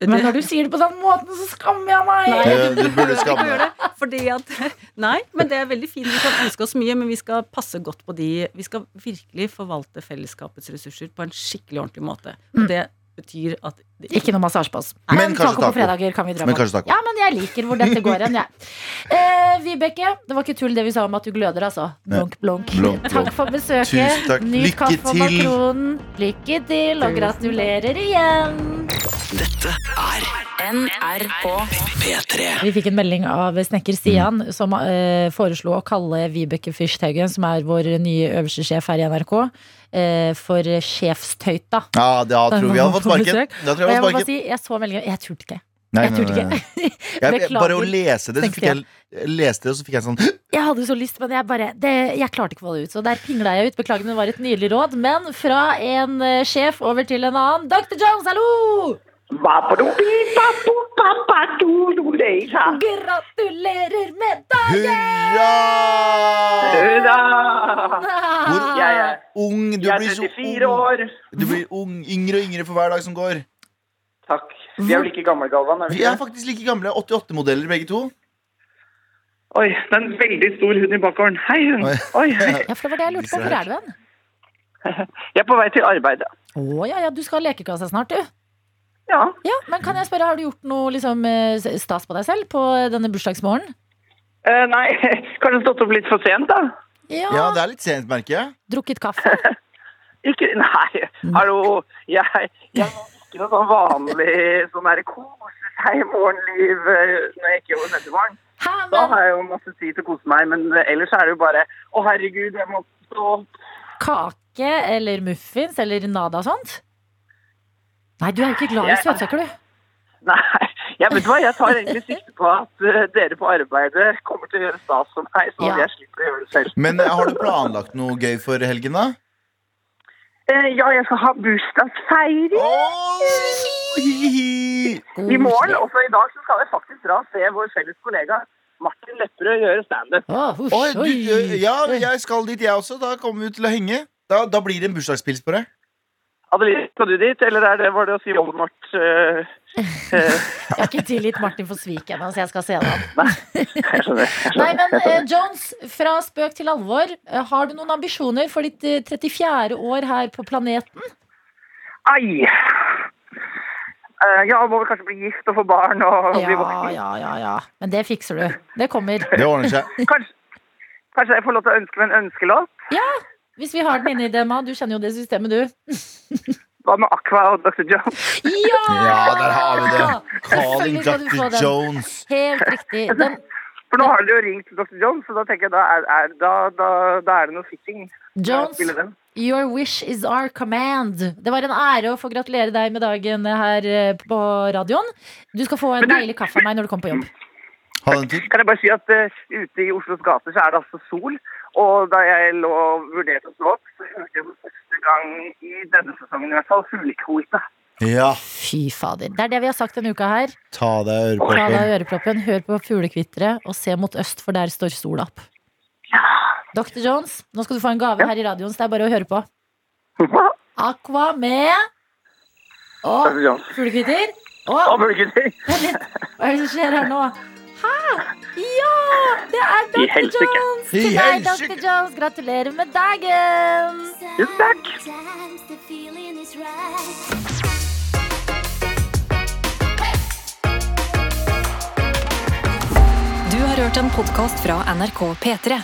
Speaker 2: Men når du sier det på den måten, så skammer jeg meg!
Speaker 9: Nei,
Speaker 3: Eh, Du burde skamme deg.
Speaker 9: Fordi at Nei, men det er veldig fint. Vi kan ønske oss mye, men vi skal passe godt på de Vi skal virkelig forvalte fellesskapets ressurser på en skikkelig ordentlig måte. Og det betyr at
Speaker 2: Ikke noe massasje på oss.
Speaker 3: Men
Speaker 2: Nei, Men
Speaker 3: kanskje
Speaker 2: taco på
Speaker 3: taco.
Speaker 2: fredager kan vi dra
Speaker 3: Men
Speaker 2: på.
Speaker 3: kanskje taco.
Speaker 2: Ja, men jeg liker hvor dette går hen, jeg. Eh, Vibeke, det var ikke tull det vi sa om at du gløder, altså. Blunk, blunk.
Speaker 3: Blunk, blunk.
Speaker 2: Takk for besøket.
Speaker 3: Tusen takk.
Speaker 2: Ny
Speaker 3: Lykke
Speaker 2: kaffe og
Speaker 3: til.
Speaker 2: makronen. Lykke til, og gratulerer igjen.
Speaker 11: NRK
Speaker 2: Vi fikk en melding av snekker Stian, som eh, foreslo å kalle Vibeke Fyrstehaugen, som er vår nye øverste sjef her i NRK, eh, for sjefstøyta.
Speaker 3: Ja, da tror vi hadde fått sparken. Da tror
Speaker 2: Og
Speaker 3: jeg
Speaker 2: jeg
Speaker 3: hadde
Speaker 2: må bare
Speaker 3: sparken.
Speaker 2: si, jeg så meldingen, jeg turte ikke.
Speaker 3: Nei,
Speaker 2: Jeg
Speaker 3: nei,
Speaker 2: turte
Speaker 3: nei, nei.
Speaker 2: ikke.
Speaker 3: Jeg, jeg, bare å
Speaker 2: Beklager.
Speaker 3: lese det, så fikk jeg, jeg leste det, og så fikk jeg sånn
Speaker 2: Jeg hadde så lyst, men jeg bare det, Jeg klarte ikke å få det ut. Så der pingla jeg ut. Beklager, men det var et nydelig råd. Men fra en eh, sjef over til en annen. Dr. Jones, hallo! Gratulerer med
Speaker 3: Hurra!
Speaker 7: Hurra!
Speaker 2: dagen!
Speaker 7: Jeg er,
Speaker 3: Ung. Du
Speaker 7: jeg
Speaker 3: blir
Speaker 7: er
Speaker 3: så
Speaker 7: 34
Speaker 3: ung.
Speaker 7: år.
Speaker 3: Du blir ung, yngre og yngre for hver dag som går.
Speaker 7: Takk. Vi er vel ikke gamle, Galvan? Er vi
Speaker 3: Vi er
Speaker 7: ikke?
Speaker 3: faktisk like gamle. 88-modeller begge to.
Speaker 7: Oi, det er en veldig stor hund i bakgården. Hei, hund.
Speaker 3: Oi.
Speaker 7: Oi.
Speaker 2: Ja, for det var det jeg lurte på. Hvor er du hen?
Speaker 7: Jeg er på vei til arbeid.
Speaker 2: Å ja, ja, du skal ha lekekasse snart, du.
Speaker 7: Ja.
Speaker 2: Ja, men kan jeg spørre, har du gjort noe liksom, eh, stas på deg selv på denne bursdagsmorgenen?
Speaker 7: Eh, nei, kanskje stått opp litt for sent, da?
Speaker 2: Ja,
Speaker 3: Ja, det er litt sent, merker jeg.
Speaker 2: Drukket kaffe?
Speaker 7: Ikke, nei, hallo. Jeg, jeg har ikke noe sånn vanlig sånn der kose seg morgenliv eh, når jeg ikke jobber nettopp.
Speaker 2: Hæ,
Speaker 7: Da
Speaker 2: men
Speaker 7: har jeg jo masse tid til å kose meg, men eh, ellers er det jo bare Å, herregud, jeg må stå opp.
Speaker 2: kake eller muffins eller nada og sånt? Nei, du er jo ikke glad i
Speaker 7: Jeg-
Speaker 2: søtsaker, du.
Speaker 7: Nei, jeg vet du hva, jeg tar egentlig sikte på at eh, dere på arbeidet kommer til å gjøre stas for meg, sånn
Speaker 2: Ja.
Speaker 7: at jeg slipper å gjøre det selv.
Speaker 3: Men eh, har du planlagt noe gøy for helgen, da?
Speaker 7: Eh, ja, jeg skal ha bursdagsfeiring
Speaker 3: Åh, hihi.
Speaker 7: i morgen. Og så i dag så skal jeg faktisk dra og se vår felles kollega Martin Lepperød gjøre standup.
Speaker 2: Å, husj,
Speaker 3: Oi, du, eh,
Speaker 2: oi.
Speaker 3: ja, jeg skal dit, jeg også. Da kommer vi til å henge. Da, da blir det en bursdagspils på deg.
Speaker 7: Adeline, skal du dit, eller er det, var det å si Voldemort? eh,
Speaker 2: Jeg har ikke tilgitt Martin for svik ennå, så jeg skal se det an.
Speaker 7: Jeg skjønner. Jeg
Speaker 2: Nei,
Speaker 7: skjønner.
Speaker 2: men eh, Jones, fra spøk til alvor. eh, har du noen ambisjoner for ditt eh, 34. år her på planeten?
Speaker 7: Ai! Eh, ja, må vel kanskje bli gift og få barn og bli voksen.
Speaker 2: ja, ja, ja. Men det fikser du. Det kommer.
Speaker 3: Det ordner seg.
Speaker 7: Kanskje, kanskje jeg får lov til å ønske meg en ønskelåt?
Speaker 2: Hvis vi har den inne i DMA, du kjenner jo det systemet, du.
Speaker 7: Hva med Aqua og Dr. Joe?
Speaker 2: Ja!
Speaker 3: Ja, der har vi det.
Speaker 2: Selvfølgelig
Speaker 3: Calling
Speaker 2: skal du få
Speaker 3: Dr.
Speaker 2: den.
Speaker 3: Jones.
Speaker 2: Helt riktig. Den
Speaker 7: For nå har dere jo ringt Dr. Jones, så da tenker jeg da er, er, da, da, da er det noe fitting. å
Speaker 2: Jones?
Speaker 7: spille den.
Speaker 2: Your wish is our command. Det var en ære å få gratulere deg med dagen her eh, på radioen. Du skal få en deilig kaffe av meg når du kommer på jobb.
Speaker 7: Kan jeg bare si at eh, ute i Oslos gater så er det altså sol. Og da jeg lå og vurderte å stå opp, så hørte jeg for første gang i denne sesongen i hvert fall fuglekvote.
Speaker 3: Ja,
Speaker 2: Fy fader. Det er det vi har sagt denne uka her.
Speaker 3: ta deg
Speaker 2: Ta deg av
Speaker 3: øreproppen.
Speaker 2: øreproppen, hør på fuglekvitteret og se mot øst, for der står sola opp. Dr. Jones, nå skal du få en gave her i radioen, så det er bare å høre på. Aqua med Og
Speaker 7: Dr. Jones.
Speaker 2: fuglekvitter.
Speaker 7: Å,
Speaker 2: Og
Speaker 7: fuglekvitter!
Speaker 2: hva er det som skjer her nå? Hæ? Ja! Det er
Speaker 7: I
Speaker 2: Dr.
Speaker 7: helsike.
Speaker 2: Jones!
Speaker 7: I
Speaker 2: Det er Dr.
Speaker 7: helsike.
Speaker 2: Jones. Gratulerer med dagen!
Speaker 7: Tusen takk.
Speaker 1: Du har hørt en podkast fra NRK P3.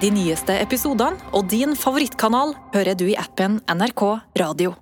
Speaker 1: De nyeste episodene og din favorittkanal hører du i appen NRK Radio.